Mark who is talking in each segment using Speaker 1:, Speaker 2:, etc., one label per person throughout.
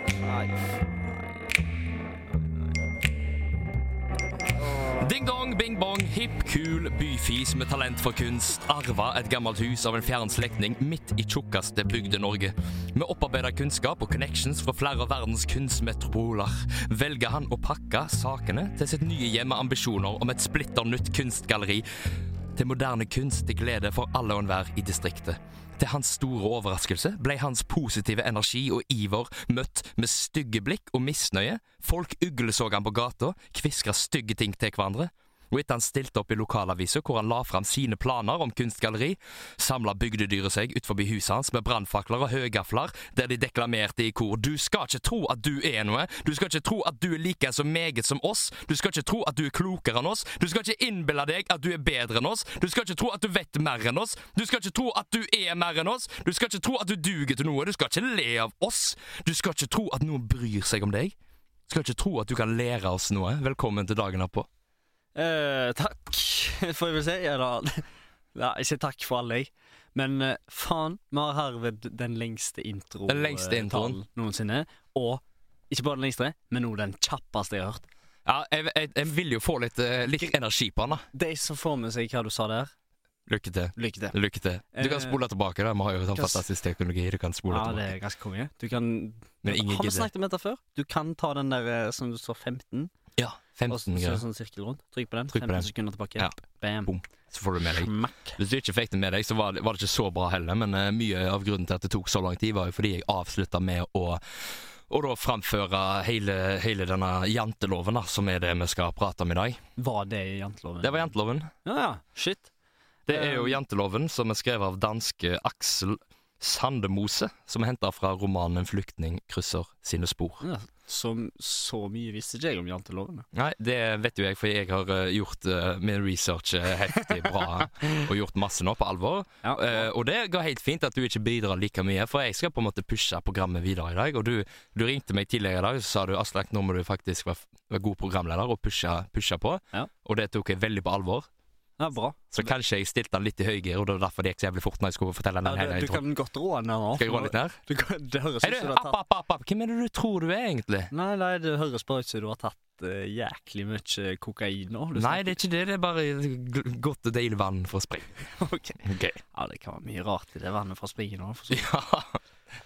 Speaker 1: life.
Speaker 2: Ding dong, bing bong, hipp, kul, byfis med talent for kunst. Arva et gammelt hus av en fjern slektning midt i tjukkeste Bygde-Norge. Med opparbeida kunnskap og connections fra flere av verdens kunstmetropoler velger han å pakke sakene til sitt nye hjem med ambisjoner om et splitter nytt kunstgalleri til moderne kunst til glede for alle og enhver i distriktet. Til hans store overraskelse ble hans positive energi og iver møtt med stygge blikk og misnøye, folk ugleså han på gata, kviskra stygge ting til hverandre, og etter han stilte opp i lokalavisa hvor han la fram sine planer om kunstgalleri, samla bygdedyret seg ut forbi huset hans med brannfakler og høygafler, der de deklamerte i kor 'Du skal ikke tro at du er noe', 'Du skal ikke tro at du er like så meget som oss', 'Du skal ikke tro at du er klokere enn oss', 'Du skal ikke innbille deg at du er bedre enn oss', 'Du skal ikke tro at du vet mer enn oss', 'Du skal ikke tro at du er mer enn oss', 'Du skal ikke tro at du duger til noe', 'Du skal ikke le av oss', 'Du skal ikke tro at noen bryr seg om deg', 'Du skal ikke tro at du kan lære oss noe'. Velkommen til dagen herpå.
Speaker 1: Eh, takk, får jeg vel si. Ja, da. Ja, ikke takk for alle, jeg. Men eh, faen, vi har herved den lengste intro
Speaker 2: Den lengste
Speaker 1: eh,
Speaker 2: introen.
Speaker 1: talen noensinne. Og ikke bare den lengste, men også den kjappeste jeg har hørt.
Speaker 2: Ja, jeg, jeg, jeg vil jo få litt, eh, litt energi på han da.
Speaker 1: De som får med seg hva du sa der,
Speaker 2: Lykke til.
Speaker 1: lykke til.
Speaker 2: Lykke til. Du kan
Speaker 1: Eh,
Speaker 2: spole tilbake. da. Vi har jo sånn
Speaker 1: hva s-
Speaker 2: fantastisk teknologi. Du kan spole
Speaker 1: Ja, det
Speaker 2: tilbake.
Speaker 1: er ganske konge. Du kan
Speaker 2: Men ingen
Speaker 1: Har vi
Speaker 2: gidder.
Speaker 1: snakket om dette før? Du kan ta den der eh, som du står 15,
Speaker 2: Ja,
Speaker 1: og
Speaker 2: 15
Speaker 1: så, så,
Speaker 2: greier.
Speaker 1: sånn sirkel rundt. Trykk på den.
Speaker 2: Trykk på
Speaker 1: 15
Speaker 2: den.
Speaker 1: sekunder tilbake.
Speaker 2: Ja.
Speaker 1: Bam.
Speaker 2: Boom. Så får du med deg.
Speaker 1: Smack.
Speaker 2: Hvis du ikke fikk det med deg, så var det, var det ikke så bra heller. Men eh, mye av grunnen til at det tok så lang tid, var jo fordi jeg avslutta med å og da framføre hele, hele denne janteloven, da, som er det vi skal prate om i dag.
Speaker 1: Var det i janteloven?
Speaker 2: Det var janteloven.
Speaker 1: Ja, ja. Shit.
Speaker 2: Det er jo
Speaker 1: Um,
Speaker 2: janteloven, som er skrevet av danske Aksel Sandemose, som er henta fra romanen 'En flyktning krysser sine spor'.
Speaker 1: Ja, som så mye visste ikke jeg om janteloven.
Speaker 2: Nei, det vet jo jeg, for jeg har eh, gjort eh, min research eh, heftig bra. og gjort masse nå, på alvor.
Speaker 1: Ja.
Speaker 2: Eh, og det går helt fint at du ikke bidrar like mye, for jeg skal på en måte pushe programmet videre i dag. Og du, du ringte meg tidligere i dag og sa du, Aslak, nå må du faktisk være, f- være god programleder og pushe, pushe på.
Speaker 1: Ja.
Speaker 2: Og det tok jeg veldig på alvor.
Speaker 1: ja, bra.
Speaker 2: Så kanskje jeg stilte den litt i høygir, og det var derfor det gikk så jævlig fort når jeg skulle fortelle den
Speaker 1: Ja,
Speaker 2: hele
Speaker 1: du, du
Speaker 2: introen.
Speaker 1: kan Altså, godt rå den der nå.
Speaker 2: Skal jeg roe litt ned?
Speaker 1: Du kan, det høres
Speaker 2: Hei,
Speaker 1: ut
Speaker 2: du,
Speaker 1: som du har
Speaker 2: app,
Speaker 1: tatt
Speaker 2: app, app, app. Hvem er det du tror du er, egentlig?
Speaker 1: Nei, nei, det høres bare ut som du har tatt eh, jæklig mye eh, kokain nå. Du
Speaker 2: Nei, det er ikke det. Det er bare gl- godt og deilig vann for å springe.
Speaker 1: snakker- Ok.
Speaker 2: Ok.
Speaker 1: Ja, det kan være mye rart i det vannet fra springen nå. For så. vidt.
Speaker 2: Ja,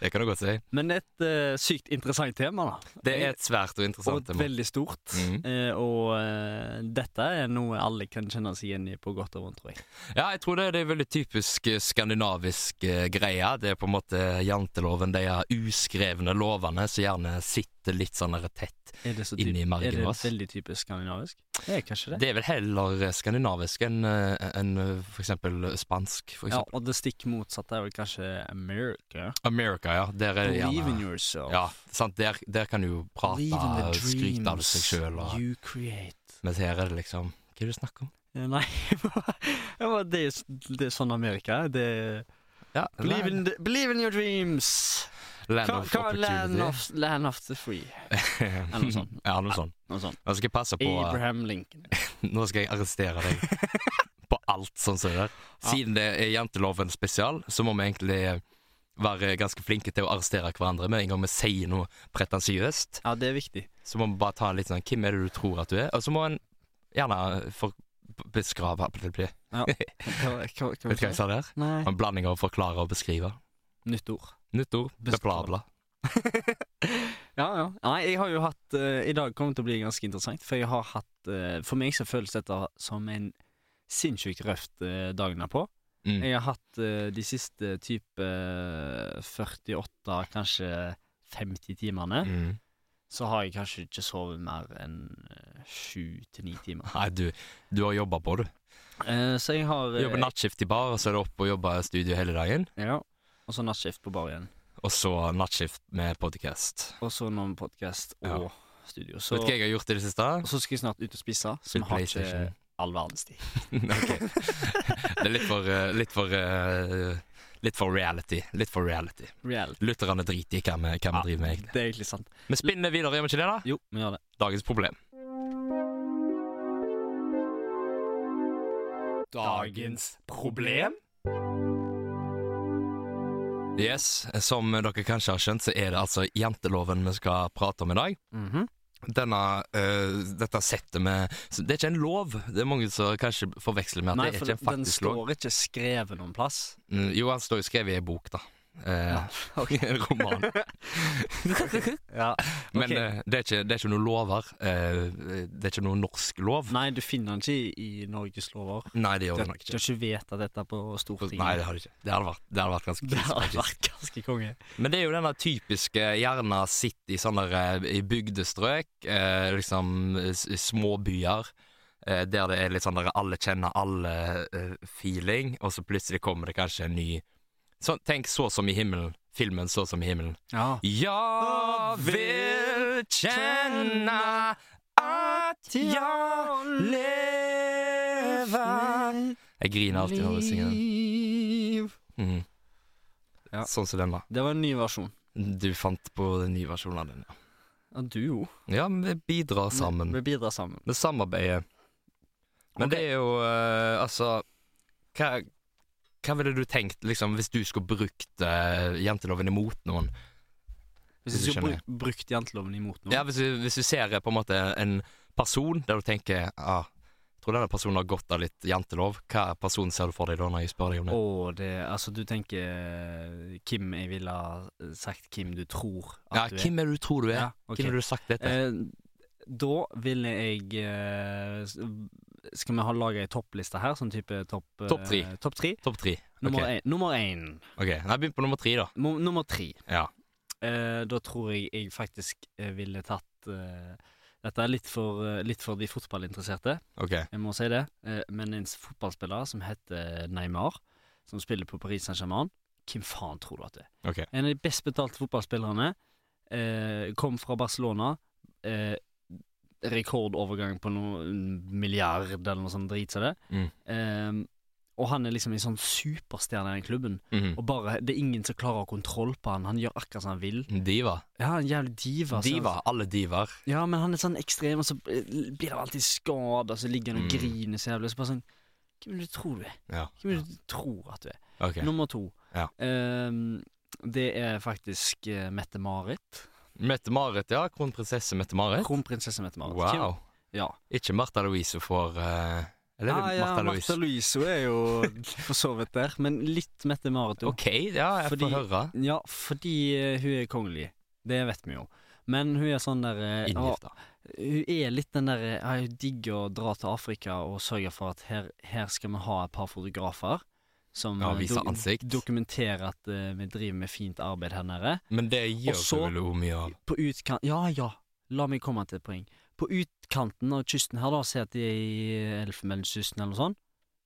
Speaker 2: det kan du godt si.
Speaker 1: Men et eh, sykt interessant tema, da.
Speaker 2: Det er et svært og
Speaker 1: Og
Speaker 2: interessant
Speaker 1: et
Speaker 2: tema.
Speaker 1: veldig stort.
Speaker 2: Mhm.
Speaker 1: Eh, og eh, dette er noe alle kan kjenne seg igjen i på godt og vondt, tror jeg.
Speaker 2: Ja, jeg tror det er det veldig typisk eh, skandinavisk eh, greia. Det er på en måte janteloven, de her uskrevne lovene som gjerne sitter litt sånn der tett.
Speaker 1: Er det, så
Speaker 2: Inni
Speaker 1: typ-
Speaker 2: margen
Speaker 1: er det
Speaker 2: vår.
Speaker 1: veldig typisk skandinavisk? Det er kanskje det.
Speaker 2: Det er vel heller eh, skandinavisk enn eh, enn, eh, for eksempel eh, spansk, for
Speaker 1: ja,
Speaker 2: eksempel.
Speaker 1: og det stikk motsatte er vel kanskje America.
Speaker 2: America, ja. Der er det
Speaker 1: Believe in
Speaker 2: gjerne
Speaker 1: yourself.
Speaker 2: ja, sant, der, der kan du jo prate,
Speaker 1: Believe
Speaker 2: eh,
Speaker 1: in the
Speaker 2: skryte av
Speaker 1: dreams
Speaker 2: seg sjøl, og
Speaker 1: You create.
Speaker 2: mens her er det liksom Hva er det du snakker om?
Speaker 1: Eh, Nei, jeg bare- det, er s- det er sånn Amerika er. Det er
Speaker 2: Ja,
Speaker 1: believe,
Speaker 2: land,
Speaker 1: in the, believe in your dreams!
Speaker 2: land
Speaker 1: Ka-
Speaker 2: of
Speaker 1: ka- land,
Speaker 2: opportunity.
Speaker 1: of, land of the free.
Speaker 2: Eller
Speaker 1: noe sånt.
Speaker 2: Ja, noe sånt.
Speaker 1: Noe sånt.
Speaker 2: Nå skal jeg passe på eh,
Speaker 1: Abraham Lincoln.
Speaker 2: Nå skal jeg arrestere deg på alt sånn som det der. Siden det er janteloven spesial, så må vi egentlig eh, være ganske flinke til å arrestere hverandre med en gang vi sier noe pretensiøst.
Speaker 1: Ja, det er viktig.
Speaker 2: Så må vi bare ta en litt sånn Hvem er det du tror at du er? Og så må en gjerne eh, for beskrave Vet
Speaker 1: Hva, hva, hva,
Speaker 2: du hva jeg sa der?
Speaker 1: Nei.
Speaker 2: En blanding av forklare og beskrive.
Speaker 1: Nytt ord.
Speaker 2: Nytt ord.
Speaker 1: Beskrive.
Speaker 2: Bla, bla.
Speaker 1: Ja, ja. Nei, jeg har jo hatt eh, I dag kommer det til å bli ganske interessant, for jeg har hatt eh, For meg så føles dette som en sinnssykt røft uh, dagen derpå.
Speaker 2: Mm.
Speaker 1: Jeg har hatt eh, de siste type 48, kanskje 50 timene.
Speaker 2: Mm.
Speaker 1: Så har jeg kanskje ikke sovet mer enn eh, sju til ni timer.
Speaker 2: Nei, du, du har jobba på, du.
Speaker 1: Eh, så jeg har
Speaker 2: Du
Speaker 1: eh,
Speaker 2: Jobber nattskift i bar, og så er det opp og jobber i studio hele dagen.
Speaker 1: Ja, og så nattskift på bar igjen.
Speaker 2: Og så nattskift med podkast.
Speaker 1: Og så noen podkast og studio. Så,
Speaker 2: Vet du hva jeg har gjort i det siste?
Speaker 1: og så skal jeg snart ut og spise, så vi
Speaker 2: Spilt
Speaker 1: har eh, ikke
Speaker 2: PlayStation.
Speaker 1: all verdens tid.
Speaker 2: Ok. Det er litt for eh, Litt for, eh, litt for reality. Litt for reality.
Speaker 1: Real.
Speaker 2: Lytterne driter i hva vi, hva vi driver med. egentlig.
Speaker 1: det er egentlig sant.
Speaker 2: Vi spinner videre, gjør vi ikke det? da?
Speaker 1: Jo, vi gjør det.
Speaker 2: Dagens problem.
Speaker 1: Dagens problem?
Speaker 2: Yes, Som dere kanskje har skjønt, så er det altså janteloven vi skal prate om i dag.
Speaker 1: Mhm.
Speaker 2: Denne, eh, dette settet med så Det er ikke en lov. Det er mange som kanskje forveksler med at
Speaker 1: Nei,
Speaker 2: det er
Speaker 1: for
Speaker 2: ikke
Speaker 1: den,
Speaker 2: en
Speaker 1: den
Speaker 2: faktisk lov.
Speaker 1: står ikke skrevet noen plass.
Speaker 2: Mm, Jo, han står jo skrevet i ei bok, da. Eh,
Speaker 1: Ja,
Speaker 2: En roman.
Speaker 1: Ja.
Speaker 2: Men
Speaker 1: Ok.
Speaker 2: eh, det, er ikke, det er ikke noen lover. Eh, det er ikke noen norsk lov.
Speaker 1: Nei, du finner den ikke i, i Norges lover.
Speaker 2: Nei,
Speaker 1: Du
Speaker 2: det gjør det
Speaker 1: har
Speaker 2: nok
Speaker 1: du har
Speaker 2: ikke.
Speaker 1: ikke vedtatt dette på Stortinget.
Speaker 2: Nei, det har det ikke. Det hadde vært, det hadde vært ganske
Speaker 1: Det
Speaker 2: krise,
Speaker 1: har
Speaker 2: faktisk.
Speaker 1: vært ganske konge.
Speaker 2: Men det er jo denne typiske gjerne sitt i sånne eh, i bygdestrøk, eh, liksom eh, s- småbyer, eh, der det er litt sånn der alle kjenner alle-feeling, og så plutselig kommer det kanskje en ny sånn, Tenk så som i himmelen. Filmen Så som i himmelen.
Speaker 1: Ja.
Speaker 2: Jeg vil kjenne at jeg lever Jeg griner alltid når jeg synger den. Mm.
Speaker 1: Ja.
Speaker 2: Sånn som den, da.
Speaker 1: Det var en ny versjon.
Speaker 2: Du fant på den nye versjonen av den, ja.
Speaker 1: Ja, du jo.
Speaker 2: Ja, men vi bidrar sammen.
Speaker 1: Vi bidrar sammen.
Speaker 2: Vi samarbeider. Men
Speaker 1: Ok.
Speaker 2: det er jo eh, Altså hva, hva ville du tenkt liksom, hvis du skulle brukt eh, janteloven imot noen?
Speaker 1: Mm. Hvis
Speaker 2: Du
Speaker 1: du skulle
Speaker 2: skjønner.
Speaker 1: bru- brukt janteloven imot noe
Speaker 2: Ja, Hvis du, hvis du ser eh, på en måte en person der du tenker ah, jeg tror denne personen har godt av litt jantelov. Hva person ser du for deg da, når jeg spør deg om det?
Speaker 1: Å, det Altså, du tenker eh, Kim jeg ville ha sagt Kim du tror at
Speaker 2: Ja,
Speaker 1: du er.
Speaker 2: hvem er det du tror du er?
Speaker 1: Ja, ok.
Speaker 2: Hvem er det du har sagt dette?
Speaker 1: Eh, da ville jeg eh, s- Skal vi ha laga ei toppliste her? Sånn type topp eh,
Speaker 2: Topp tre.
Speaker 1: Topp tre.
Speaker 2: Topp tre.
Speaker 1: Nummer
Speaker 2: Ok.
Speaker 1: én. Nummer én.
Speaker 2: Ok, Nei, Begynn på nummer tre, da.
Speaker 1: Mo- Nummer tre.
Speaker 2: Ja.
Speaker 1: Eh, da tror jeg jeg faktisk eh, ville tatt eh, Dette er litt for, eh, litt for de fotballinteresserte,
Speaker 2: Ok.
Speaker 1: jeg må si det. Eh, men en s- fotballspiller som heter Neymar, som spiller på Paris Saint-Germain Hvem faen tror du at det er?
Speaker 2: ok
Speaker 1: En av de best betalte fotballspillerne. Eh, kom fra Barcelona. Eh, rekordovergang på noen milliard eller noe sånt drit som det.
Speaker 2: Mm.
Speaker 1: Eh, og han er liksom en sånn superstjerne i den klubben.
Speaker 2: Mhm.
Speaker 1: Og bare, Det er ingen som klarer å ha kontroll på han. Han gjør akkurat som han vil.
Speaker 2: Diva.
Speaker 1: Ja, en jævlig diva. altså. så-
Speaker 2: Diva. Alle divaer.
Speaker 1: Ja, men han er sånn ekstrem, og så eh, blir han alltid skadet og så ligger han og
Speaker 2: Mm.
Speaker 1: griner så jævlig. Så bare sånn Hvem er det du tror du er?
Speaker 2: Ja.
Speaker 1: Hvem er det du tror at du er?
Speaker 2: Ok.
Speaker 1: Nummer to.
Speaker 2: Ja.
Speaker 1: Ehm, det er faktisk eh, Mette-Marit.
Speaker 2: Mette-Marit, ja. Kronprinsesse Mette-Marit.
Speaker 1: Kronprinsesse Mette-Marit. Hvem-
Speaker 2: Wow.
Speaker 1: Ja.
Speaker 2: Ikke Martha Louise for eh, Eller er det
Speaker 1: Ja, ja,
Speaker 2: Martha Louise?
Speaker 1: Martha Louise hun er jo for så vidt der, men litt Mette-Marit òg.
Speaker 2: OK, ja, jeg
Speaker 1: Fordi-
Speaker 2: får høre.
Speaker 1: Ja, fordi eh, hun er kongelig. Det vet vi jo. Men hun er sånn der eh, å,
Speaker 2: Inngifta.
Speaker 1: Hun er litt den der ja, Hun digger å dra til Afrika og sørge for at her, her skal vi ha et par fotografer som
Speaker 2: Ja,
Speaker 1: eh,
Speaker 2: vise
Speaker 1: dok-
Speaker 2: ansikt.
Speaker 1: dokumenterer at eh, vi driver med fint arbeid her nede.
Speaker 2: Men det gjør
Speaker 1: Og så-
Speaker 2: du vel hun mye av.
Speaker 1: På utkant Ja, ja, la meg komme til et poeng. På utkanten av kysten her, da, se at de er i Elfenbenskysten eller noe sånt,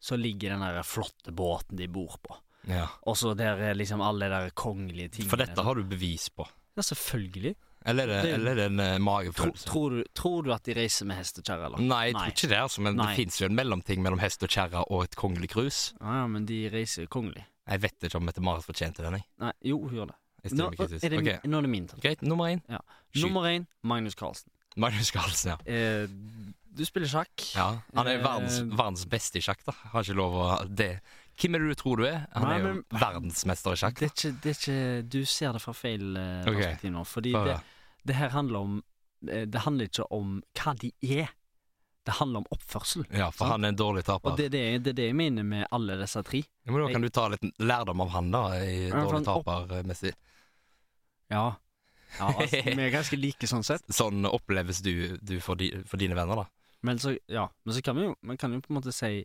Speaker 1: så ligger den der flotte båten de bor på.
Speaker 2: Ja.
Speaker 1: Og så der er liksom alle de der kongelige tingene.
Speaker 2: For dette har du bevis på.
Speaker 1: Ja, selvfølgelig.
Speaker 2: Eller er det,
Speaker 1: Det-
Speaker 2: eller er Mm. det en eh,
Speaker 1: Tro,
Speaker 2: magefølelse?
Speaker 1: tror, du, tror du at de reiser med hest og kjerre, eller?
Speaker 2: Nei, jeg tror ikke det, altså, men
Speaker 1: Nei.
Speaker 2: det fins jo en mellomting mellom hest og kjerre og et kongelig krus.
Speaker 1: Ja, ja, men de reiser kongelig.
Speaker 2: Jeg vet ikke om Mette-Marit fortjente den, jeg.
Speaker 1: Nei, jo, hun gjør det.
Speaker 2: jeg
Speaker 1: Nå
Speaker 2: stiller meg
Speaker 1: er
Speaker 2: kritisk.
Speaker 1: det, mi-
Speaker 2: Ok,
Speaker 1: nå er det min tur.
Speaker 2: Greit, nummer én. Skyt.
Speaker 1: Nummer én, Magnus Carlsen.
Speaker 2: Magnus Carlsen, ja.
Speaker 1: Eh, du spiller sjakk.
Speaker 2: Ja, han er
Speaker 1: Eh,
Speaker 2: verdens, verdens beste i sjakk, da. Har ikke lov å det. Hvem er det du tror du er? Han
Speaker 1: Nei,
Speaker 2: er jo
Speaker 1: men-
Speaker 2: verdensmester i sjakk.
Speaker 1: Det er ikke, det er ikke Du ser det fra feil eh,
Speaker 2: Ok.
Speaker 1: perspektiv nå. Fordi
Speaker 2: Bare-
Speaker 1: det, det her handler om eh, Det handler ikke om hva de er. Det handler om oppførsel.
Speaker 2: ja, for
Speaker 1: sant?
Speaker 2: han er en dårlig taper.
Speaker 1: Og det er det, det, er det jeg mener med alle disse tre.
Speaker 2: Ja, men da kan du ta litt lærdom av han, da, i
Speaker 1: Ja, for
Speaker 2: dårlig
Speaker 1: han opp-
Speaker 2: taper-messig.
Speaker 1: Ja. ja altså, vi er ganske like sånn sett.
Speaker 2: Sånn oppleves du, du for, di, for dine venner, da.
Speaker 1: Men så, ja. Men så kan vi jo, man kan jo på en måte si,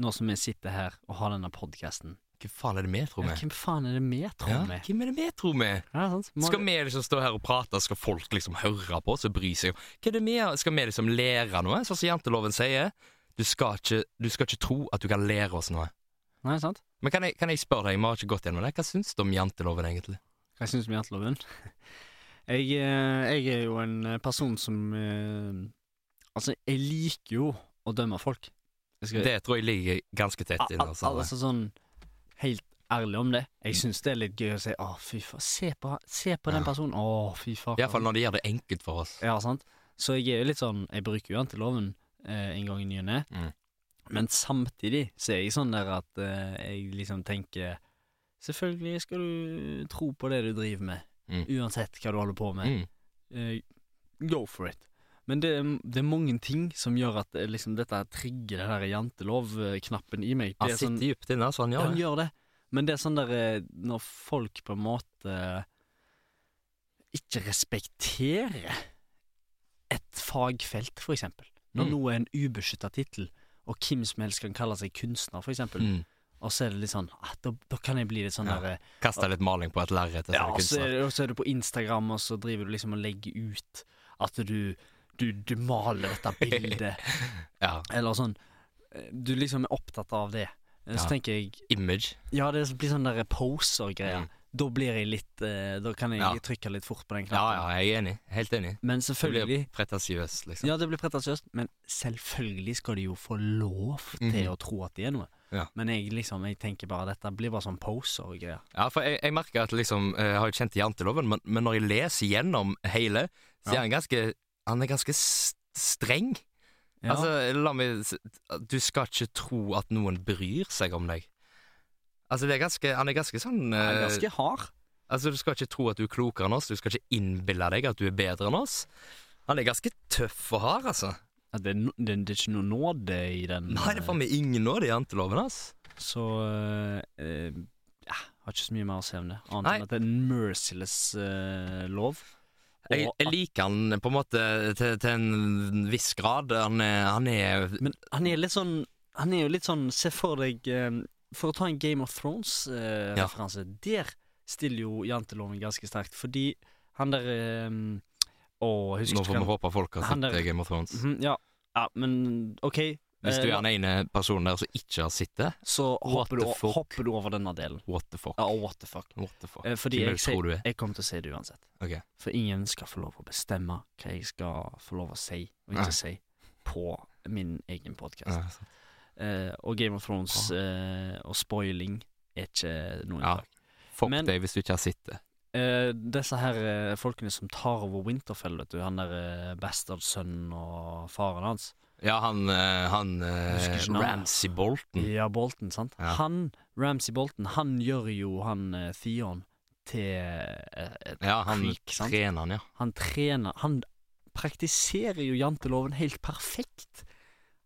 Speaker 1: nå som vi sitter her og har denne podkasten
Speaker 2: Hva faen er det vi tror
Speaker 1: ja,
Speaker 2: med?
Speaker 1: Hvem faen er det vi tror
Speaker 2: Ja,
Speaker 1: vi?
Speaker 2: hvem er det vi tror med?
Speaker 1: Ja, sant? Må-
Speaker 2: Skal vi liksom stå her og prate, skal folk liksom høre på oss og bry seg? Hva er det vi, skal vi liksom lære noe, sånn som janteloven sier? Du skal, ikke, du skal ikke tro at du kan lære oss noe.
Speaker 1: Nei, sant?
Speaker 2: Men kan jeg, kan jeg spørre deg, vi har ikke gått gjennom det, hva syns du om janteloven egentlig?
Speaker 1: Hva syns du om janteloven? Jeg, eh, jeg er jo en eh, person som eh, Altså, jeg liker jo å dømme folk. Jeg skal,
Speaker 2: Det tror jeg ligger ganske tett
Speaker 1: al-
Speaker 2: inne.
Speaker 1: al-
Speaker 2: Altså.
Speaker 1: altså sånn helt ærlig om det. Jeg syns det er litt gøy å si 'Å, fy faen, se på, han- se på den
Speaker 2: Mm. Ja.
Speaker 1: personen'. Å, fy faen.
Speaker 2: Iallfall når de gjør det enkelt for oss.
Speaker 1: Ja, sant? Så jeg er jo litt sånn Jeg bruker jo janteloven eh, en gang i ny og ne.
Speaker 2: Mm.
Speaker 1: Men samtidig så er jeg sånn der at eh, jeg liksom tenker Selvfølgelig skal du tro på det du driver med,
Speaker 2: Mm.
Speaker 1: uansett hva du holder på med.
Speaker 2: Mm.
Speaker 1: Eh, go for it. Men det, det er mange ting som gjør at eh, liksom, dette trigger den der jantelov-knappen eh, i meg.
Speaker 2: Han
Speaker 1: Det er sånn,
Speaker 2: sitter dypt inne, så han
Speaker 1: ja,
Speaker 2: gjør
Speaker 1: han
Speaker 2: det.
Speaker 1: gjør det. Men det er sånn der eh, når folk på en måte ikke respekterer et fagfelt, for eksempel. Når
Speaker 2: Mm.
Speaker 1: noe er en ubeskytta tittel, og hvem som helst kan kalle seg kunstner, for eksempel,
Speaker 2: Mm.
Speaker 1: og så er det litt sånn ah, da, da kan jeg bli litt sånn
Speaker 2: Ja.
Speaker 1: der eh,
Speaker 2: Kaster litt maling på et lerret.
Speaker 1: ja, og så,
Speaker 2: kunstner.
Speaker 1: er det, og så er du på Instagram, og så driver du liksom og legger ut at du, du, du maler dette bildet,
Speaker 2: Ja.
Speaker 1: eller sånn. Eh, Du liksom er opptatt av det. Eh, Så
Speaker 2: Ja.
Speaker 1: tenker jeg
Speaker 2: Image.
Speaker 1: Ja, det blir sånn der poser-greier.
Speaker 2: Mm.
Speaker 1: Da blir jeg litt eh, Da kan jeg
Speaker 2: Ja.
Speaker 1: trykke litt fort på den
Speaker 2: Ja,
Speaker 1: knappen.
Speaker 2: ja, jeg er enig. Helt enig.
Speaker 1: Men
Speaker 2: Du blir
Speaker 1: selvfølgelig
Speaker 2: pretensiøs, liksom.
Speaker 1: Ja, det blir pretensiøst, men selvfølgelig skal de jo få lov til
Speaker 2: Mhm.
Speaker 1: å tro at de er noe.
Speaker 2: Ja.
Speaker 1: Men jeg liksom Jeg tenker bare dette blir bare sånn poser-greier.
Speaker 2: Ja, for jeg, jeg merker at liksom eh, Jeg har jo kjent til janteloven, men, men når jeg leser gjennom hele,
Speaker 1: Ja.
Speaker 2: så er han ganske Han er ganske s- streng.
Speaker 1: Ja.
Speaker 2: Altså, la meg s- Du skal ikke tro at noen bryr seg om deg. Altså, det er ganske Han er ganske
Speaker 1: Han
Speaker 2: sånn
Speaker 1: er
Speaker 2: eh,
Speaker 1: ganske hard.
Speaker 2: Altså, du skal ikke tro at du er klokere enn oss, du skal ikke innbille deg at du er bedre enn oss. Han er ganske tøff og hard, altså.
Speaker 1: Ja, det, er no, det, det er ikke noe nåde i den.
Speaker 2: Nei, det er faen meg ingen nåde i janteloven, ass.
Speaker 1: Så eh, eh, ja, har ikke så mye mer å si om det. Annet
Speaker 2: Nei.
Speaker 1: enn at det er en merciless eh, lov. Og
Speaker 2: Jeg, jeg
Speaker 1: at-
Speaker 2: liker han på en måte til, til en viss grad. Han er, han er
Speaker 1: men han er litt sånn Han er jo litt sånn Se for deg eh, For å ta en Game of
Speaker 2: Ja.
Speaker 1: Thrones-referanse. Der stiller jo janteloven ganske sterkt, fordi han der eh, Å, jeg husker
Speaker 2: Nå får vi
Speaker 1: ikke
Speaker 2: håpe folk har
Speaker 1: Han
Speaker 2: sett
Speaker 1: der-
Speaker 2: Game of Thrones.
Speaker 1: Mhm, ja, ja, men OK.
Speaker 2: Hvis du
Speaker 1: eh,
Speaker 2: er den ene personen der som ikke har sett det,
Speaker 1: så
Speaker 2: What
Speaker 1: hopper
Speaker 2: the
Speaker 1: du, o-
Speaker 2: fuck?
Speaker 1: hopper du over denne delen.
Speaker 2: what the fuck?
Speaker 1: Ja, what the fuck.
Speaker 2: What the fuck?
Speaker 1: Eh, Fordi jeg,
Speaker 2: Hvem vil du tro
Speaker 1: sier-
Speaker 2: du er?
Speaker 1: jeg kommer til å si det uansett.
Speaker 2: Ok.
Speaker 1: For ingen skal få lov å bestemme hva jeg skal få lov å si og
Speaker 2: Nei.
Speaker 1: ikke si på min egen podkast.
Speaker 2: Ja, sant.
Speaker 1: og Game of Thrones eh, og spoiling er ikke noe
Speaker 2: Ah. Ja.
Speaker 1: unntak.
Speaker 2: Fuck
Speaker 1: Men-
Speaker 2: deg hvis du ikke har sett det.
Speaker 1: Eh, disse her eh, folkene som tar over Winterfell, vet du, han der uh, bastardsønnen og faren hans,
Speaker 2: Ja, han, eh, han eh,
Speaker 1: Husker ikke navnet.
Speaker 2: Ramsay Bolton.
Speaker 1: ja, Bolton, sant?
Speaker 2: Mm. Ja.
Speaker 1: Han, Ramsay Bolton, han gjør jo han eh, Theon til eh, et
Speaker 2: Ja, han
Speaker 1: Creek, sant?
Speaker 2: trener han, ja.
Speaker 1: Han trener Han praktiserer jo janteloven helt perfekt.